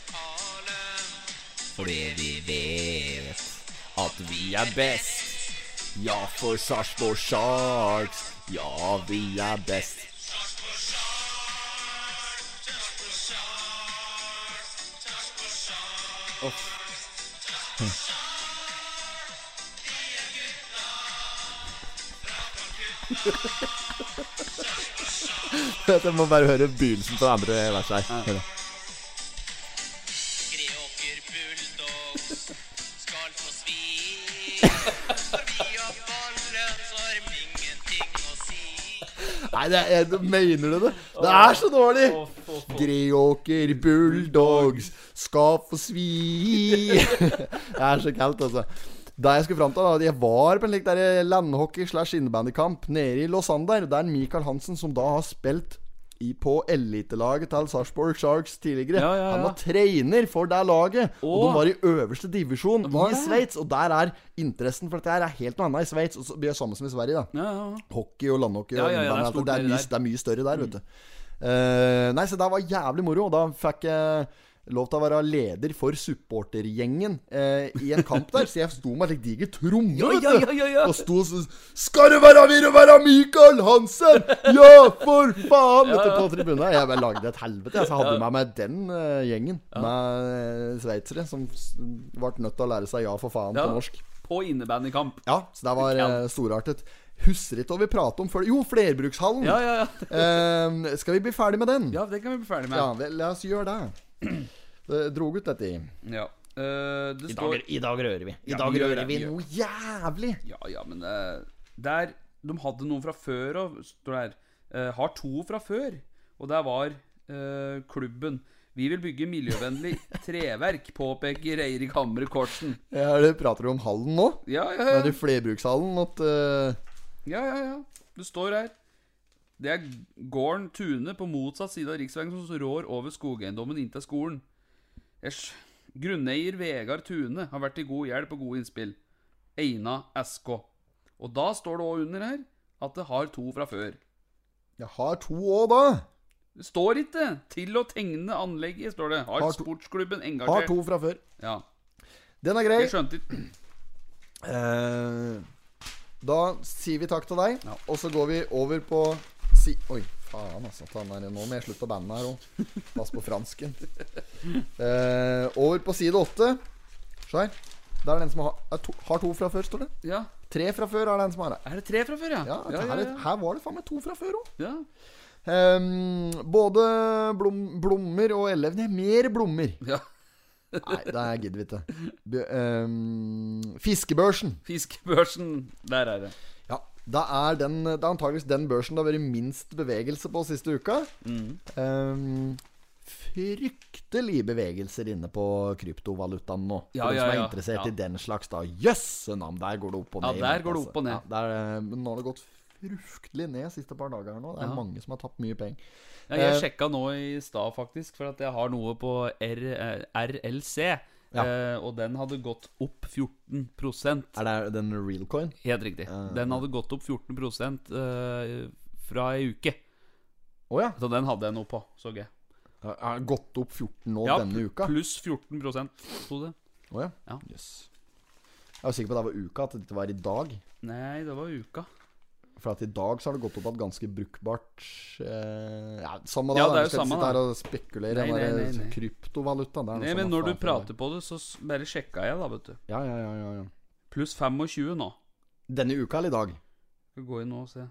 Speaker 4: pokalen.
Speaker 2: Fordi vi vet at vi er best. Ja, for Sarpsborg Sharks. Ja, vi er best.
Speaker 4: Sarpsborg Sharks,
Speaker 1: Jeg må bare høre begynnelsen på det andre verset her. Hør da.
Speaker 8: Greåker Bulldogs skal få svi. For vi har ballen, så har de ingenting å si.
Speaker 1: Nei, det er, du mener du det? Det er så dårlig! Greåker Bulldogs skal få svi. Det er så kaldt, altså. Da jeg skulle fram til, da, at jeg var på en slik der landhockey slash innebandykamp nede i Lausander. Det er Michael Hansen som da har spilt i, på elitelaget til Sarpsborg Sharks tidligere.
Speaker 2: Ja, ja, ja.
Speaker 1: Han var trener for det laget. Og
Speaker 2: Åh.
Speaker 1: de var i øverste divisjon
Speaker 2: Var
Speaker 1: i
Speaker 2: det?
Speaker 1: Sveits. Og der er interessen for dette her er helt noe annet i Sveits. Og så blir det samme som i Sverige, da
Speaker 2: Ja, ja, ja.
Speaker 1: hockey og landhockey.
Speaker 2: Ja,
Speaker 1: og
Speaker 2: ja, ja, det er
Speaker 1: innblanding,
Speaker 2: stort
Speaker 1: det, er mye,
Speaker 2: nedi der. Mm.
Speaker 1: det er mye større der, vet du. Eh, nei, så det var jævlig moro. Og da fikk jeg lov til å være leder for supportergjengen eh, i en kamp der. Så jeg sto med en slik diger tromme,
Speaker 2: Ja,
Speaker 1: vet
Speaker 2: ja,
Speaker 1: du.
Speaker 2: ja, ja, ja.
Speaker 1: Og sto sånn Skal det være vil det være Michael Hansen? Ja, for faen! Vet du, på tribunen. Jeg bare lagde et helvete. jeg, Så jeg hadde med meg den eh, gjengen med eh, sveitsere som s- ble nødt til å lære seg ja, for faen
Speaker 2: Ja.
Speaker 1: på norsk.
Speaker 2: På innebandykamp.
Speaker 1: Ja, så det var eh, storartet. Husker ikke hva vi pratet om før Jo, flerbrukshallen!
Speaker 2: Ja, ja, ja.
Speaker 1: Eh, skal vi bli ferdig med den?
Speaker 2: Ja, det kan vi bli ferdig med.
Speaker 1: Ja, vel, la oss gjøre det. Det drog ut dette i.
Speaker 2: Ja. Eh, det står
Speaker 1: rører vi. I
Speaker 2: Ja,
Speaker 1: dag
Speaker 2: vi gjør
Speaker 1: rører
Speaker 2: det,
Speaker 1: vi
Speaker 2: vi gjør
Speaker 1: noe jævlig!
Speaker 2: Ja, ja, men eh, Der De hadde noen fra før og står det her. eh, har to fra før, og der var eh, klubben. Vi vil bygge miljøvennlig treverk, påpeker Eirik Hamre Korsen.
Speaker 1: Ja, er det, prater du om hallen nå?
Speaker 2: Ja, ja,
Speaker 1: Er
Speaker 2: ja.
Speaker 1: det flerbrukshallen at eh,
Speaker 2: ja, ja, ja. Det står her. Det er gården Tune på motsatt side av riksveien som rår over skogeiendommen inntil skolen. Æsj. Grunneier Vegard Tune har vært til god hjelp og gode innspill. Eina SK. Og da står det òg under her at det har to fra før.
Speaker 1: Jeg har to òg, da.
Speaker 2: Det står ikke 'til å tegne anlegget', står det. Har,
Speaker 1: Har to-
Speaker 2: sportsklubben
Speaker 1: Har
Speaker 2: engasjert
Speaker 1: to fra før.
Speaker 2: Ja,
Speaker 1: Den er grei.
Speaker 2: Jeg skjønte ikke.
Speaker 1: Eh, da sier vi takk til deg,
Speaker 2: Ja.
Speaker 1: og så går vi over på si Oi, faen, altså. ta den der- Nå må jeg slutte på bandet her òg. Pass på fransken. Eh, over på side åtte. Se her. Der er den som har, er to, har to fra før, står det.
Speaker 2: Ja.
Speaker 1: Tre fra før er den som har det.
Speaker 2: Er det tre fra før, ja?
Speaker 1: Ja,
Speaker 2: ja,
Speaker 1: her,
Speaker 2: ja,
Speaker 1: her var det faen meg to fra før òg.
Speaker 2: ja.
Speaker 1: både blom, blommer og elevene Mer blommer.
Speaker 2: ja.
Speaker 1: Nei, det her gidder vi ikke. Bø- ehm, fiskebørsen.
Speaker 2: Fiskebørsen. Der er det.
Speaker 1: Ja, det er, den, det er antageligvis den børsen det har vært minst bevegelse på siste uka.
Speaker 2: Mm.
Speaker 1: Ehm, fryktelig bevegelser inne på kryptovalutaen nå.
Speaker 2: Ja,
Speaker 1: For de
Speaker 2: ja,
Speaker 1: som er
Speaker 2: ja.
Speaker 1: interessert
Speaker 2: Ja.
Speaker 1: i den slags, da. Jøsse navn, der går det opp og
Speaker 2: Ja,
Speaker 1: ned. i
Speaker 2: der
Speaker 1: markedet,
Speaker 2: går det
Speaker 1: altså.
Speaker 2: opp og ned.
Speaker 1: Ja, der, eh, men nå har det gått fryktelig ned siste par dager her nå. Det er
Speaker 2: Ja.
Speaker 1: mange som har tapt mye penger.
Speaker 2: Ja, jeg
Speaker 1: Eh,
Speaker 2: sjekka nå i stad, faktisk, for at jeg har noe på R, eh, RLC.
Speaker 1: Ja.
Speaker 2: Eh, og den hadde gått opp 14
Speaker 1: Er det den realcoin?
Speaker 2: Helt riktig.
Speaker 1: Eh,
Speaker 2: Den hadde gått opp 14 eh, fra ei uke.
Speaker 1: Å ja.
Speaker 2: Så den hadde jeg noe på, så jeg.
Speaker 1: Har den gått opp 14 nå
Speaker 2: Ja,
Speaker 1: denne uka? Å
Speaker 2: Pluss 14 sto det.
Speaker 1: ja.
Speaker 2: Ja.
Speaker 1: Yes. Jeg var sikker på at det var uka, at det ikke var i dag.
Speaker 2: Nei, det var uka.
Speaker 1: For at i dag så har det gått opp at ganske brukbart eh, ja, Samme da,
Speaker 2: Ja,
Speaker 1: da,
Speaker 2: det
Speaker 1: vi skal
Speaker 2: er jo
Speaker 1: ikke
Speaker 2: samme
Speaker 1: sitte
Speaker 2: da.
Speaker 1: her og spekulere
Speaker 2: Nei,
Speaker 1: i den
Speaker 2: nei,
Speaker 1: der
Speaker 2: nei, nei.
Speaker 1: kryptovaluta. Det er noe
Speaker 2: Nei,
Speaker 1: som
Speaker 2: men
Speaker 1: er
Speaker 2: når du
Speaker 1: faen for
Speaker 2: prater på det, så s- bare sjekka jeg, da, vet du.
Speaker 1: meg. Ja, ja, ja, ja, ja.
Speaker 2: Pluss 25 nå.
Speaker 1: Denne uka eller i dag?
Speaker 2: Skal gå inn nå og se.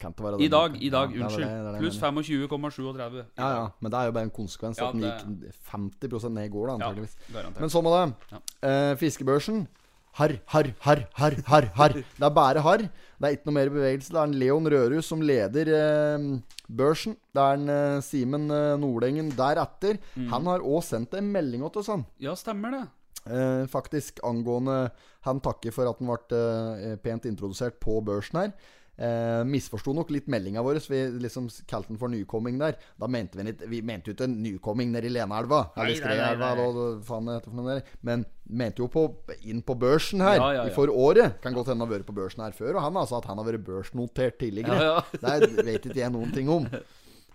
Speaker 1: Kan ikke være
Speaker 2: I
Speaker 1: denne
Speaker 2: dag,
Speaker 1: uka.
Speaker 2: i dag.
Speaker 1: Ja, det er det- det er
Speaker 2: Unnskyld.
Speaker 1: det
Speaker 2: Pluss
Speaker 1: jeg mener.
Speaker 2: 25,37.
Speaker 1: Ja, ja, men det er jo bare en konsekvens
Speaker 2: Ja,
Speaker 1: at den
Speaker 2: det-
Speaker 1: gikk 50 ned i går, da,
Speaker 2: Ja,
Speaker 1: antakeligvis.
Speaker 2: garantert.
Speaker 1: Men sånn med det. Eh, fiskebørsen. Harr, harr, harr, harr, harr. harr Det er bare harr. Det er ikke noe mer bevegelse. Det er en Leon Rørus som leder eh, børsen. Det er en eh, Simen eh, Nordengen deretter. Han har òg sendt en melding til oss, han.
Speaker 2: Ja, stemmer det.
Speaker 1: Eh, faktisk angående Han takker for at han ble eh, pent introdusert på børsen her. Eh, misforsto nok litt meldinga vår. Vi liksom kalte den for nykomming der. Da mente vi litt, Vi mente jo ikke en nykomming nede i Lenaelva. Eller Skreelva, eller hva faen det heter for noe der. Men mente jo på inn på børsen her
Speaker 2: Ja, ja, ja.
Speaker 1: for året. Kan godt hende han har vært på børsen her før, og han altså at han har vært børsnotert tidligere.
Speaker 2: Ja,
Speaker 1: det vet ikke jeg noen ting om.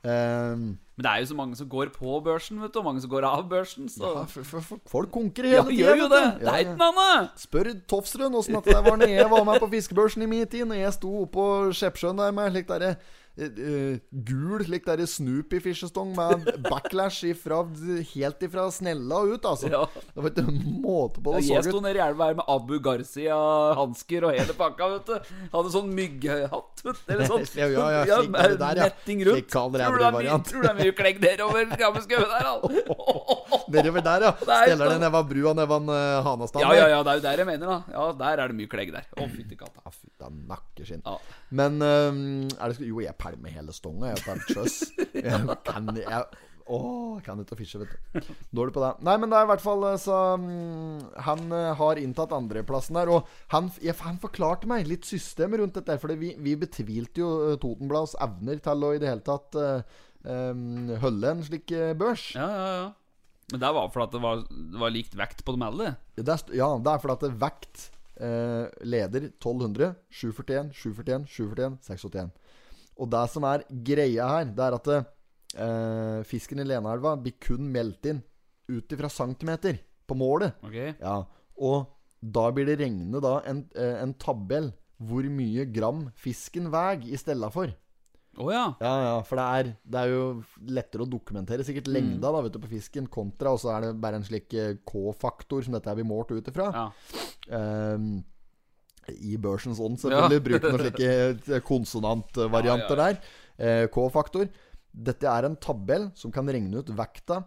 Speaker 1: Eh,
Speaker 2: Men det er jo så mange som går på børsen, vet du, og mange som går av børsen, så
Speaker 1: ja, for, for, for, folk konkurrerer
Speaker 2: Ja,
Speaker 1: hele
Speaker 2: vi
Speaker 1: tida.
Speaker 2: gjør jo det! Det er ikke noe annet!
Speaker 1: Spør Tofsrud åssen det var når jeg var med på fiskebørsen i min tid, når jeg sto oppå Skjeppsjøen der med slik derre eh, eh, gul, slik der Snoopy-fiskestong med backlash ifra, helt ifra snella og ut, altså.
Speaker 2: Ja.
Speaker 1: Det var ikke måte på det
Speaker 2: Jeg
Speaker 1: så
Speaker 2: sto
Speaker 1: ut.
Speaker 2: nede i elva her med Abu Garcia-hansker og hele pakka, vet du. Hadde sånn mygghatt, vet du. Eller sånn.
Speaker 1: Ja, ja, ja, slik er det der, ja.
Speaker 2: Netting rundt.
Speaker 1: Slik kaller jeg
Speaker 2: tror, du det er mye,
Speaker 1: variant.
Speaker 2: tror du det er mye klegg nedover gamle skauen der, han?
Speaker 1: Nedover der, ja.
Speaker 2: er
Speaker 1: Steller
Speaker 2: sånn.
Speaker 1: den neva brua nedan uh, Hanastad.
Speaker 2: Ja, ja, ja, det er jo der jeg mener, da. Ja, Der er det mye klegg der. Å, fytti katta.
Speaker 1: Ja, fytta nakkeskinn.
Speaker 2: Ja.
Speaker 1: Men øhm, er det, Jo, jeg pælmer hele stonga, jeg, på en trøss. Jeg kan jeg, Å, jeg kan ikke å fiske, vet du. Dårlig på det. Nei, men det er i hvert fall eh, så mm, Han eh, har inntatt andreplassen der, og han, jeg, han forklarte meg litt systemet rundt dette, for vi, vi betvilte jo eh, Totenblads evner til å i det hele tatt eh, em, holde en slik eh, børs.
Speaker 2: Ja, ja, ja. Men det var fordi at det var, det var likt vekt på dem alle.
Speaker 1: Det er, st- ja, det er fordi at det er vekt eh, leder 1200, 741, 741, 741, 681. Og det som er greia her, det er at eh, fisken i Lenaelva blir kun meldt inn ut ifra centimeter på målet.
Speaker 2: Ok?
Speaker 1: Ja, og da blir det regnet da en, eh, en tabell hvor mye gram fisken veier i stedet for.
Speaker 2: Å ja.
Speaker 1: Ja, ja, for det er, det er jo lettere å dokumentere sikkert lengda da, vet du, på fisken kontra, og så er det bare en slik eh, K-faktor som dette her blir målt ut ifra.
Speaker 2: ja.
Speaker 1: Ehm, I børsens ånd, selvfølgelig. Bruke noen slike eh, konsonantvarianter
Speaker 2: Ja,
Speaker 1: der. Eh, K-faktor. Dette er en tabell som kan regne ut vekta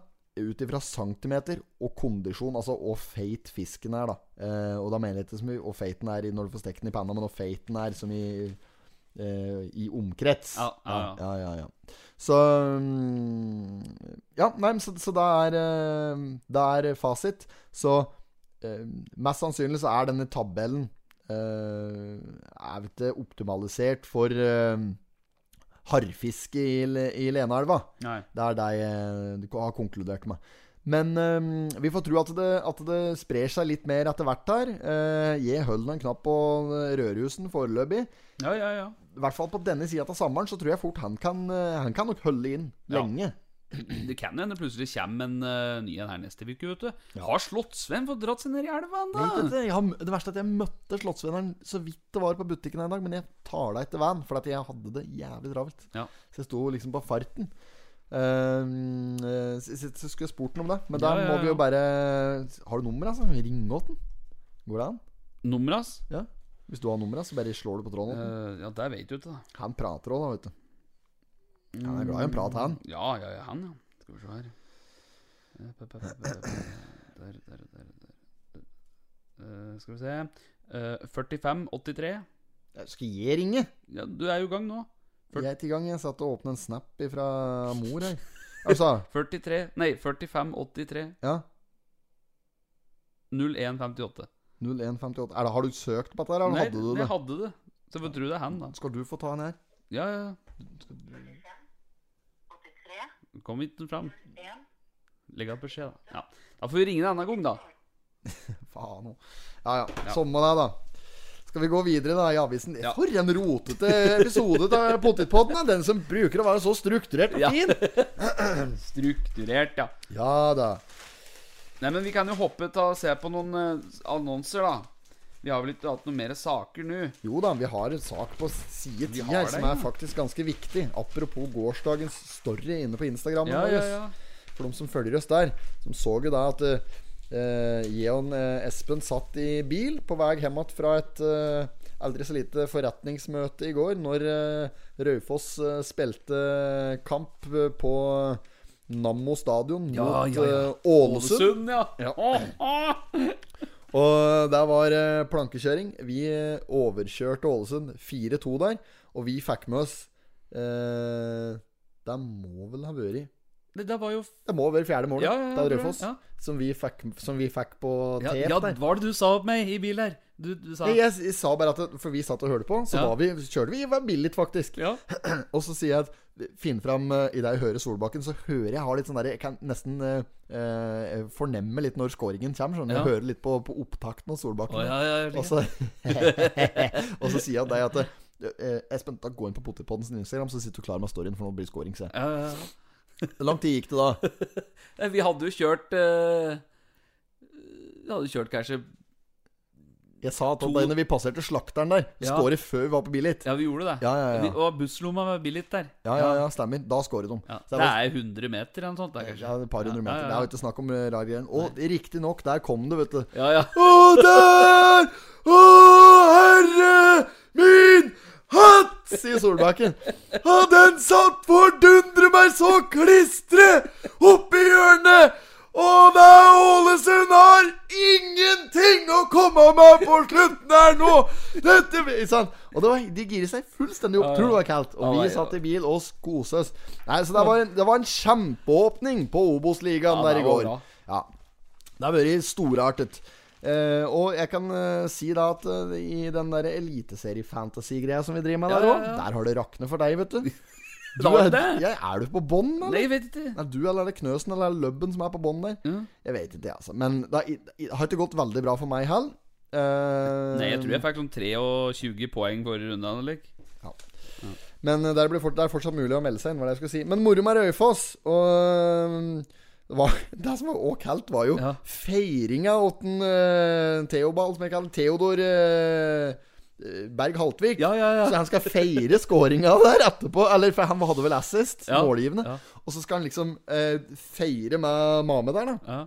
Speaker 1: ut ifra centimeter og kondisjon, altså hvor feit fisken er, da. Eh, og da mener jeg ikke så mye hvor feit den er i- når du får stekt den i panna, men hvor feit den er som i eh, I omkrets.
Speaker 2: Ja, ja, ja.
Speaker 1: ja, ja, ja. Så mm, Ja, nei, men så, så det er eh, Det er fasit. Så eh, mest sannsynlig så er denne tabellen eh, Er vet ikke optimalisert for eh, harrfiske i, Le- i Lenaelva.
Speaker 2: Nei.
Speaker 1: Det er det jeg eh, har konkludert med. Men eh, vi får tro at det, at det sprer seg litt mer etter hvert her. Eh, jeg holder en knapp på Rødhusen foreløpig.
Speaker 2: Ja, ja, ja.
Speaker 1: I hvert fall på denne sida av sommeren, så tror jeg fort han kan, eh, han kan nok holde inn
Speaker 2: Ja.
Speaker 1: lenge.
Speaker 2: Det kan jo hende plutselig kommer en eh, ny en her neste uke, vet du. Har Slottsvenn fått dratt seg ned i elva
Speaker 1: Vet
Speaker 2: ennå?
Speaker 1: dere, jeg har, det verste er at jeg møtte Slottsvenneren så vidt det var på butikken en dag, men jeg tar deg etter van, for at jeg hadde det jævlig travelt.
Speaker 2: Ja.
Speaker 1: Så jeg sto liksom på farten. Ehm, eh, så, så- så skulle jeg spurt den om det, men da
Speaker 2: Ja, ja,
Speaker 1: må vi
Speaker 2: ja.
Speaker 1: jo bare Har du nummeret, altså? Ring åt den. Går det an?
Speaker 2: Nummeret hans?
Speaker 1: Ja. Hvis du har nummeret, så bare slår du på tråden. åt den.
Speaker 2: Eh, ja, det vet du ikke, da.
Speaker 1: Han prater òg, da, vet du. Han er glad i en prat, han.
Speaker 2: Mm. Ja, ja, ja, han, ja. Skal vi se her. Eh, pa, pa, pa, pa, pa. Der, der, der. der. Eh, skal vi se uh, 4583.
Speaker 1: Skal jeg ringe?
Speaker 2: Ja, du er jo i gang nå. Ført-
Speaker 1: Jeg er til gang. Jeg satt og åpna en snap fra mor her. Altså,
Speaker 2: 43 Nei, 4583
Speaker 1: ja.
Speaker 2: 0158.
Speaker 1: 0158. Er det, har du søkt på dette, her, eller
Speaker 2: Nei,
Speaker 1: hadde du
Speaker 2: nei,
Speaker 1: det?
Speaker 2: hadde det. Så får tro det er han, da.
Speaker 1: Skal du få ta en her?
Speaker 2: Ja, ja. ja. Kom hit fram. Legg av beskjed, da. Ja. Da får vi ringe en annen gang, da.
Speaker 1: Faen òg. Ja, ja. Sånn med deg, da. Skal vi gå videre da i avisen?
Speaker 2: Ja.
Speaker 1: For en rotete episode av Pottitpodden! da. Den som bruker å være så strukturert og
Speaker 2: Ja.
Speaker 1: fin!
Speaker 2: Strukturert, ja.
Speaker 1: Ja da.
Speaker 2: Nei, men vi kan jo hoppe ta og se på noen eh, annonser, da. Vi har vel ikke hatt noen mer saker nå.
Speaker 1: Jo da, vi har en sak på side 10
Speaker 2: har
Speaker 1: her
Speaker 2: det,
Speaker 1: som
Speaker 2: ja.
Speaker 1: er faktisk ganske viktig. Apropos gårsdagens story inne på Instagram.
Speaker 2: Ja,
Speaker 1: vår.
Speaker 2: ja, ja.
Speaker 1: For de som følger oss der, som så jo da at eh, jeg og eh, Espen satt i bil på vei hjem igjen fra et eh, aldri så lite forretningsmøte i går, når eh, Raufoss eh, spilte kamp eh, på Nammo stadion
Speaker 2: Ja,
Speaker 1: mot
Speaker 2: ja, ja.
Speaker 1: eh, Ålesund.
Speaker 2: Ålesund, ja.
Speaker 1: Ja.
Speaker 2: Åh, åh.
Speaker 1: Og der var eh, plankekjøring. Vi eh, overkjørte Ålesund 4-2 der, og vi fikk med oss eh, Det må vel ha vært
Speaker 2: Det der var jo
Speaker 1: Det må være fjerde målet
Speaker 2: Ja, ja, ja,
Speaker 1: til
Speaker 2: tror jeg,
Speaker 1: Raufoss.
Speaker 2: ja.
Speaker 1: Som, vi fikk, som vi fikk på
Speaker 2: ja,
Speaker 1: tape
Speaker 2: ja, hva
Speaker 1: der.
Speaker 2: var det du sa om meg i bil her? Du, du sa
Speaker 1: Jeg, jeg, jeg sa bare at det- For vi satt og hørte på, så
Speaker 2: Ja.
Speaker 1: var vi, kjørte vi var billig, faktisk.
Speaker 2: Ja.
Speaker 1: Og så sier jeg at Finn fram eh, I det jeg hører Solbakken, så hører jeg jeg har litt sånn der Jeg kan nesten eh, eh, fornemme litt når scoringen kommer. Sånn. Jeg
Speaker 2: Ja.
Speaker 1: hører litt på, på opptakten av Solbakken.
Speaker 2: Å, ja, ja, jeg
Speaker 1: Og
Speaker 2: liker
Speaker 1: så, og så sier jeg deg at eh, Espen, da gå inn på Potetpodden sin Instagram, så sitter du klar med storyen, for nå blir det scoring. sier jeg.
Speaker 2: Ja, ja, ja.
Speaker 1: Hvor lang tid gikk det da?
Speaker 2: Nei, Vi hadde jo kjørt eh, Vi hadde kjørt kanskje
Speaker 1: Jeg sa at da vi passerte slakteren der,
Speaker 2: Ja.
Speaker 1: skåret før vi var på Billit.
Speaker 2: Ja, vi gjorde det.
Speaker 1: Ja, ja, ja.
Speaker 2: Vi- Og busslomma var billig der.
Speaker 1: Ja, ja, ja, stemmer. Da skåret de.
Speaker 2: Ja.
Speaker 1: Så
Speaker 2: Det
Speaker 1: det var
Speaker 2: er 100 meter eller noe sånt.
Speaker 1: ja,
Speaker 2: Der, kanskje.
Speaker 1: et par hundre meter.
Speaker 2: ja, ja.
Speaker 1: Det er jo ikke snakk om eh, rar greie. Og riktignok, der kom det, vet du.
Speaker 2: Ja, ja.
Speaker 1: Og der! Å, herre min hatt! sier Solbakken. Og den satt fordundre meg så klistre oppi hjørnet! Og det er Ålesund har ingenting å komme med på slutten her nå! Dette blir- ikke sant? Og det var, de girer seg fullstendig opp. Tror du det var kaldt? Og
Speaker 2: Ja,
Speaker 1: vi
Speaker 2: nei,
Speaker 1: satt i bil og koste oss. Nei, så det var en, det var en kjempeåpning på Obos-ligaen
Speaker 2: Ja, det
Speaker 1: der i
Speaker 2: var
Speaker 1: går.
Speaker 2: bra.
Speaker 1: Ja, det har vært storartet. Eh, og jeg kan eh, si da at eh, i den der eliteserie-fantasy-greia som vi driver med
Speaker 2: Ja,
Speaker 1: der
Speaker 2: ja,
Speaker 1: òg,
Speaker 2: ja.
Speaker 1: der har det raknet for deg, vet du. du
Speaker 2: Har
Speaker 1: er,
Speaker 2: det det?
Speaker 1: ja, er du på bånn,
Speaker 2: Nei,
Speaker 1: eller?
Speaker 2: jeg vet ikke.
Speaker 1: Er du eller er det Knøsen eller er det Løbben som er på bånn der? Jeg vet ikke, altså. Men det har- det har ikke gått veldig bra for meg heller. Eh,
Speaker 2: Nei, jeg tror jeg fikk sånn 23 poeng forrige runde. Henrik.
Speaker 1: Men eh, der blir fort, det er fortsatt mulig å melde seg inn, hva er det jeg skulle si. Men moro med Raufoss. Og eh, det, var, det som var òg kaldt, var jo
Speaker 2: Ja.
Speaker 1: feiringa åtten uh, Theobald, som jeg kaller Theodor eh, eh, Berg Haltvik.
Speaker 2: Ja, ja,
Speaker 1: Så
Speaker 2: ja.
Speaker 1: han skal feire scoringa der etterpå. Eller for han hadde vel assist,
Speaker 2: Ja,
Speaker 1: målgivende.
Speaker 2: ja.
Speaker 1: Og så skal han liksom eh, feire med Mame der, da.
Speaker 2: ja.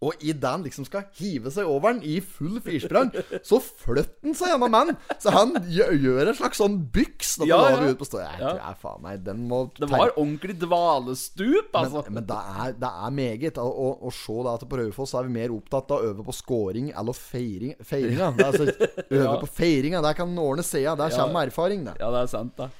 Speaker 1: Og idet han liksom skal hive seg over den i full firsprang, så flytter han seg gjennom mannen. Så han gjør, gjør en slags sånn byks. Da
Speaker 2: Ja,
Speaker 1: ja,
Speaker 2: ja.
Speaker 1: Ut på stå. Jeg
Speaker 2: Ja.
Speaker 1: tror jeg faen meg Den må
Speaker 2: Det var ordentlig dvalestup, altså.
Speaker 1: men, men det er, det er meget. Å, å, å se da at på Raufoss er vi mer opptatt av å øve på scoring eller feiring, feiringa. Det er Altså, øve på feiringa. Der kan ordne sida. Der kommer erfaring, det.
Speaker 2: Ja, det er sant, da.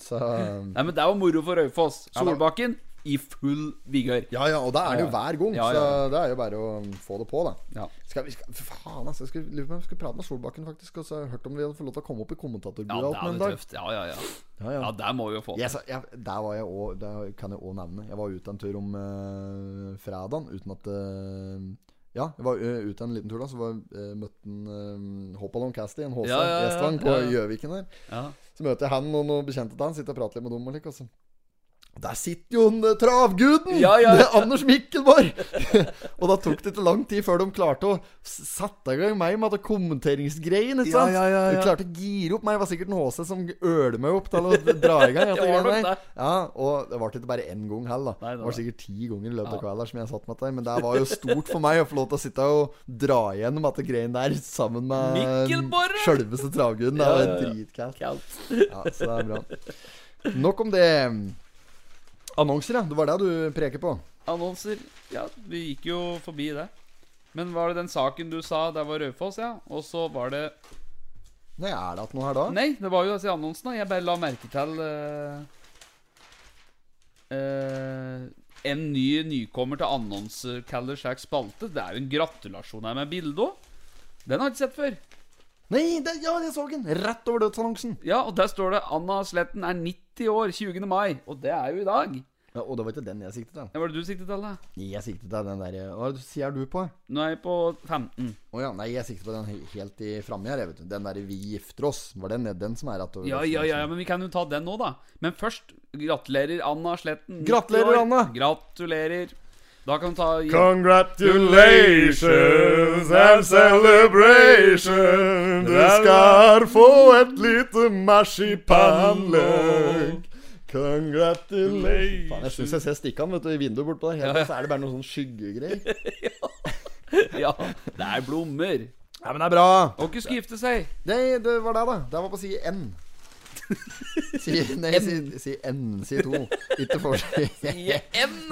Speaker 1: Så um,
Speaker 2: Nei, men det var moro for Raufoss. Solbakken i full vigør.
Speaker 1: Ja ja, og da er det jo hver gang.
Speaker 2: Ja,
Speaker 1: Så
Speaker 2: ja.
Speaker 1: det er jo bare å få det på, da.
Speaker 2: Ja.
Speaker 1: Skal vi, skal, for faen, altså. Jeg skulle, lurer på om jeg skulle prate med Solbakken, faktisk. Og så har jeg hørt om vi hadde fått lov til å komme opp i
Speaker 2: Ja,
Speaker 1: kommentatorbua
Speaker 2: det
Speaker 1: ja,
Speaker 2: er
Speaker 1: en
Speaker 2: jo
Speaker 1: dag.
Speaker 2: tøft. Ja, ja, ja.
Speaker 1: Ja, ja.
Speaker 2: Ja, der må vi jo få
Speaker 1: Jeg
Speaker 2: det.
Speaker 1: sa- jeg, der var jeg også, der kan jeg òg nevne. Jeg var ute en tur om eh, fredagen uten at eh, Ja, jeg var eh, ute en liten tur da, så var, eh, møtte han uh, Hoppalong Casty, en HC,
Speaker 2: Ja, ja, ja,
Speaker 1: Gjestvang,
Speaker 2: ja,
Speaker 1: på
Speaker 2: ja.
Speaker 1: Gjøviken der.
Speaker 2: Ja.
Speaker 1: Så møter jeg han og noen bekjente av han, sitter og prater litt med dem. og lik, og så- Der sitter jo den eh, travguden!
Speaker 2: Ja, ja.
Speaker 1: Det er Anders Mikkelborg! og da tok det ikke lang tid før de klarte å s- sette i gang meg med at kommenteringsgreien. Ikke
Speaker 2: Ja,
Speaker 1: sant?
Speaker 2: ja, ja, ja.
Speaker 1: De klarte å gire opp meg. Det var sikkert en HC som øler meg opp til å dra i gang.
Speaker 2: Det var nok
Speaker 1: det
Speaker 2: det.
Speaker 1: ja, og det varte ikke bare én gang heller. da.
Speaker 2: Nei, det
Speaker 1: Det
Speaker 2: var
Speaker 1: var sikkert ti ganger i løpet av kvelden som jeg satt med deg. Men det var jo stort for meg å få lov til å sitte og dra igjennom at det greien der sammen med
Speaker 2: Mikkelborg!
Speaker 1: sjølveste travguden. Det var dritkaldt.
Speaker 2: Kaldt.
Speaker 1: Ja, så det er bra. Nok om det. Annonser, ja. Det var det du preker på.
Speaker 2: Annonser. Ja, vi gikk jo forbi det. Men var det den saken du sa der var Raufoss, ja? Og så var det
Speaker 1: Nei, er det at noe her da?
Speaker 2: Nei, det var jo altså i annonsen. da. Jeg bare la merke til eh, eh, En ny nykommer til annonsekaller slags spalte. Det er jo en gratulasjon her med bilde òg. Den har jeg ikke sett før.
Speaker 1: Nei, det, ja, jeg så den! Rett over dødsannonsen.
Speaker 2: Ja, og der står det 'Anna Sletten er 90 år 20. mai'. Og det er jo i dag.
Speaker 1: Ja, og det var ikke den jeg siktet til.
Speaker 2: Hva var det du siktet til, da?
Speaker 1: Jeg siktet til den der Hva er det du sier du på? Å
Speaker 2: Nå er jeg på 15.
Speaker 1: ja, nei, jeg siktet på den he- helt i framme her, jeg, vet du. Den derre 'Vi gifter oss'. Var den, den som er rett over
Speaker 2: Ja, ja, ja, ja,
Speaker 1: dødsannonsen?
Speaker 2: men vi kan jo ta den nå, da. Men først, gratulerer Anna Sletten. 90
Speaker 1: Gratulerer,
Speaker 2: år.
Speaker 1: Anna.
Speaker 2: Gratulerer. Da kan du ta
Speaker 6: Congratulations and celebration. Du skal få et lite
Speaker 1: Faen,
Speaker 6: marsipanløk.
Speaker 1: jeg syns
Speaker 6: Congratulations.
Speaker 1: jeg ser Stikkan vet du, i vinduet bortpå der. Helt, Så er det bare noen sånn skyggegreier.
Speaker 2: Ja, det er blommer.
Speaker 1: Nei, men det er bra.
Speaker 2: Og ikke skulle gifte seg.
Speaker 1: Nei, det var det, da. Det var på side N. Si, nei, si, si N, si to. Ikke forskjell. Der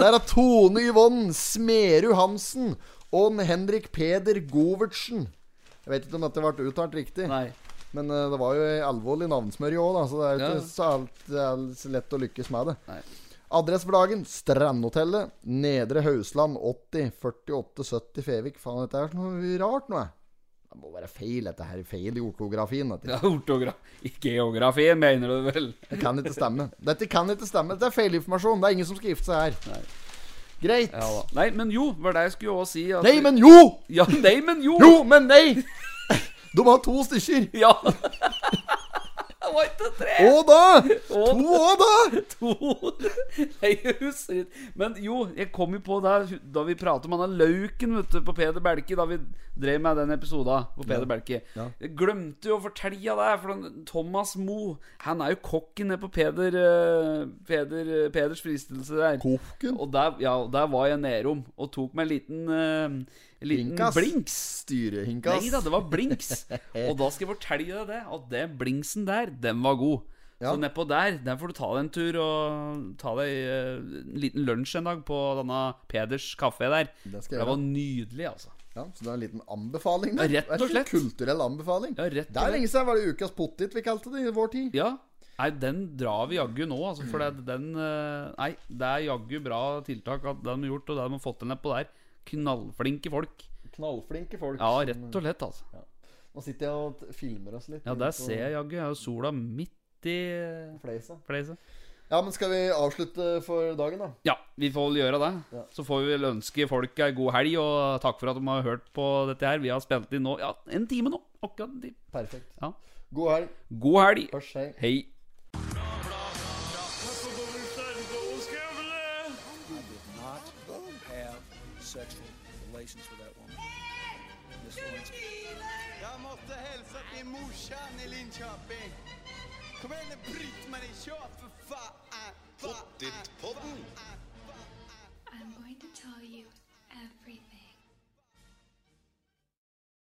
Speaker 1: er Tone Yvonne Smerud Hansen og Henrik Peder Govertsen. Jeg vet ikke om dette ble uttalt riktig,
Speaker 2: Nei.
Speaker 1: men eh, det var jo ei alvorlig navnsmørje òg, da, så det er jo
Speaker 2: Ja.
Speaker 1: ikke så alt, det er så lett å lykkes med det.
Speaker 2: Nei.
Speaker 1: Adresse for dagen Strandhotellet, Nedre Hausland 80 48 70 Fevik. Faen, dette er noe rart noe. Det må være feil, dette her. Feil i ortografien. Dette.
Speaker 2: Ja, ortogra... I geografien, mener du vel?
Speaker 1: Det kan ikke stemme. Dette kan ikke stemme. Det er feilinformasjon. Det er ingen som skal gifte seg her.
Speaker 2: Nei.
Speaker 1: Greit.
Speaker 2: Ja da. Nei, men jo, var det jeg skulle også si. at-
Speaker 1: Nei, men jo!
Speaker 2: Ja, nei, men jo!
Speaker 1: Jo, men nei! De har to stykker.
Speaker 2: Ja. Det var ikke tre!
Speaker 1: Å da!
Speaker 2: Og-
Speaker 1: To å da!
Speaker 2: to Jeg husker ikke. Men jo, jeg kom jo på da, da vi pratet om han der Lauken vet du, på Peder Belke, da vi drev med den episoden på Peder Belke. Jeg glemte jo å fortelle det, for den Thomas Mo Han er jo kokken nede på Peder, eh, Peder Peders fristelse der.
Speaker 1: Koken.
Speaker 2: Og der, ja, og der var jeg nedom og tok meg en liten, eh, en liten
Speaker 1: Blinkas.
Speaker 2: blinks.
Speaker 1: Styrehinkas.
Speaker 2: Nei da, det var blinks. Og da skal jeg fortelle deg det, at den blinksen der, den var god.
Speaker 1: Ja.
Speaker 2: Så nedpå der, der får du ta deg en tur og ta deg eh, en liten lunsj en dag på denne Peders kafé der.
Speaker 1: Det skal jeg
Speaker 2: Det var nydelig, altså.
Speaker 1: Ja, så det er en liten anbefaling der.
Speaker 2: Ja, rett og
Speaker 1: Det er en
Speaker 2: slett.
Speaker 1: Kulturell anbefaling.
Speaker 2: Ja, rett og
Speaker 1: det er
Speaker 2: slett.
Speaker 1: lenge siden var det ukas pottit vi kalte det i vår tid.
Speaker 2: Ja. Nei, den drar vi jaggu nå, altså. For det, den eh, Nei, det er jaggu bra tiltak at de har gjort, og det de har fått til nedpå der. Knallflinke folk.
Speaker 1: Knallflinke folk.
Speaker 2: Ja, rett og slett, altså.
Speaker 1: Nå sitter jeg og t- filmer oss litt.
Speaker 2: Ja, der ser jeg jaggu. Jeg har jo sola midt i
Speaker 1: Fleisa.
Speaker 2: fleiset.
Speaker 1: Ja, men skal vi avslutte for dagen, da?
Speaker 2: Ja, vi får vel gjøre det.
Speaker 1: Ja.
Speaker 2: Så får vi vel ønske folk ei god helg, og takk for at de har hørt på dette her. Vi har spilt inn nå ja, en time nå. Akkurat en time.
Speaker 1: Perfekt.
Speaker 2: Ja.
Speaker 1: God helg.
Speaker 2: God helg.
Speaker 1: Hørs, hei.
Speaker 2: Hei.
Speaker 3: not have sexual relations with that woman. Miss Lewinsky.
Speaker 4: Jag måste hälsa till morsan i Linköping. Kom igen nu Britt-Marie, kör för fan! Pottitpodden!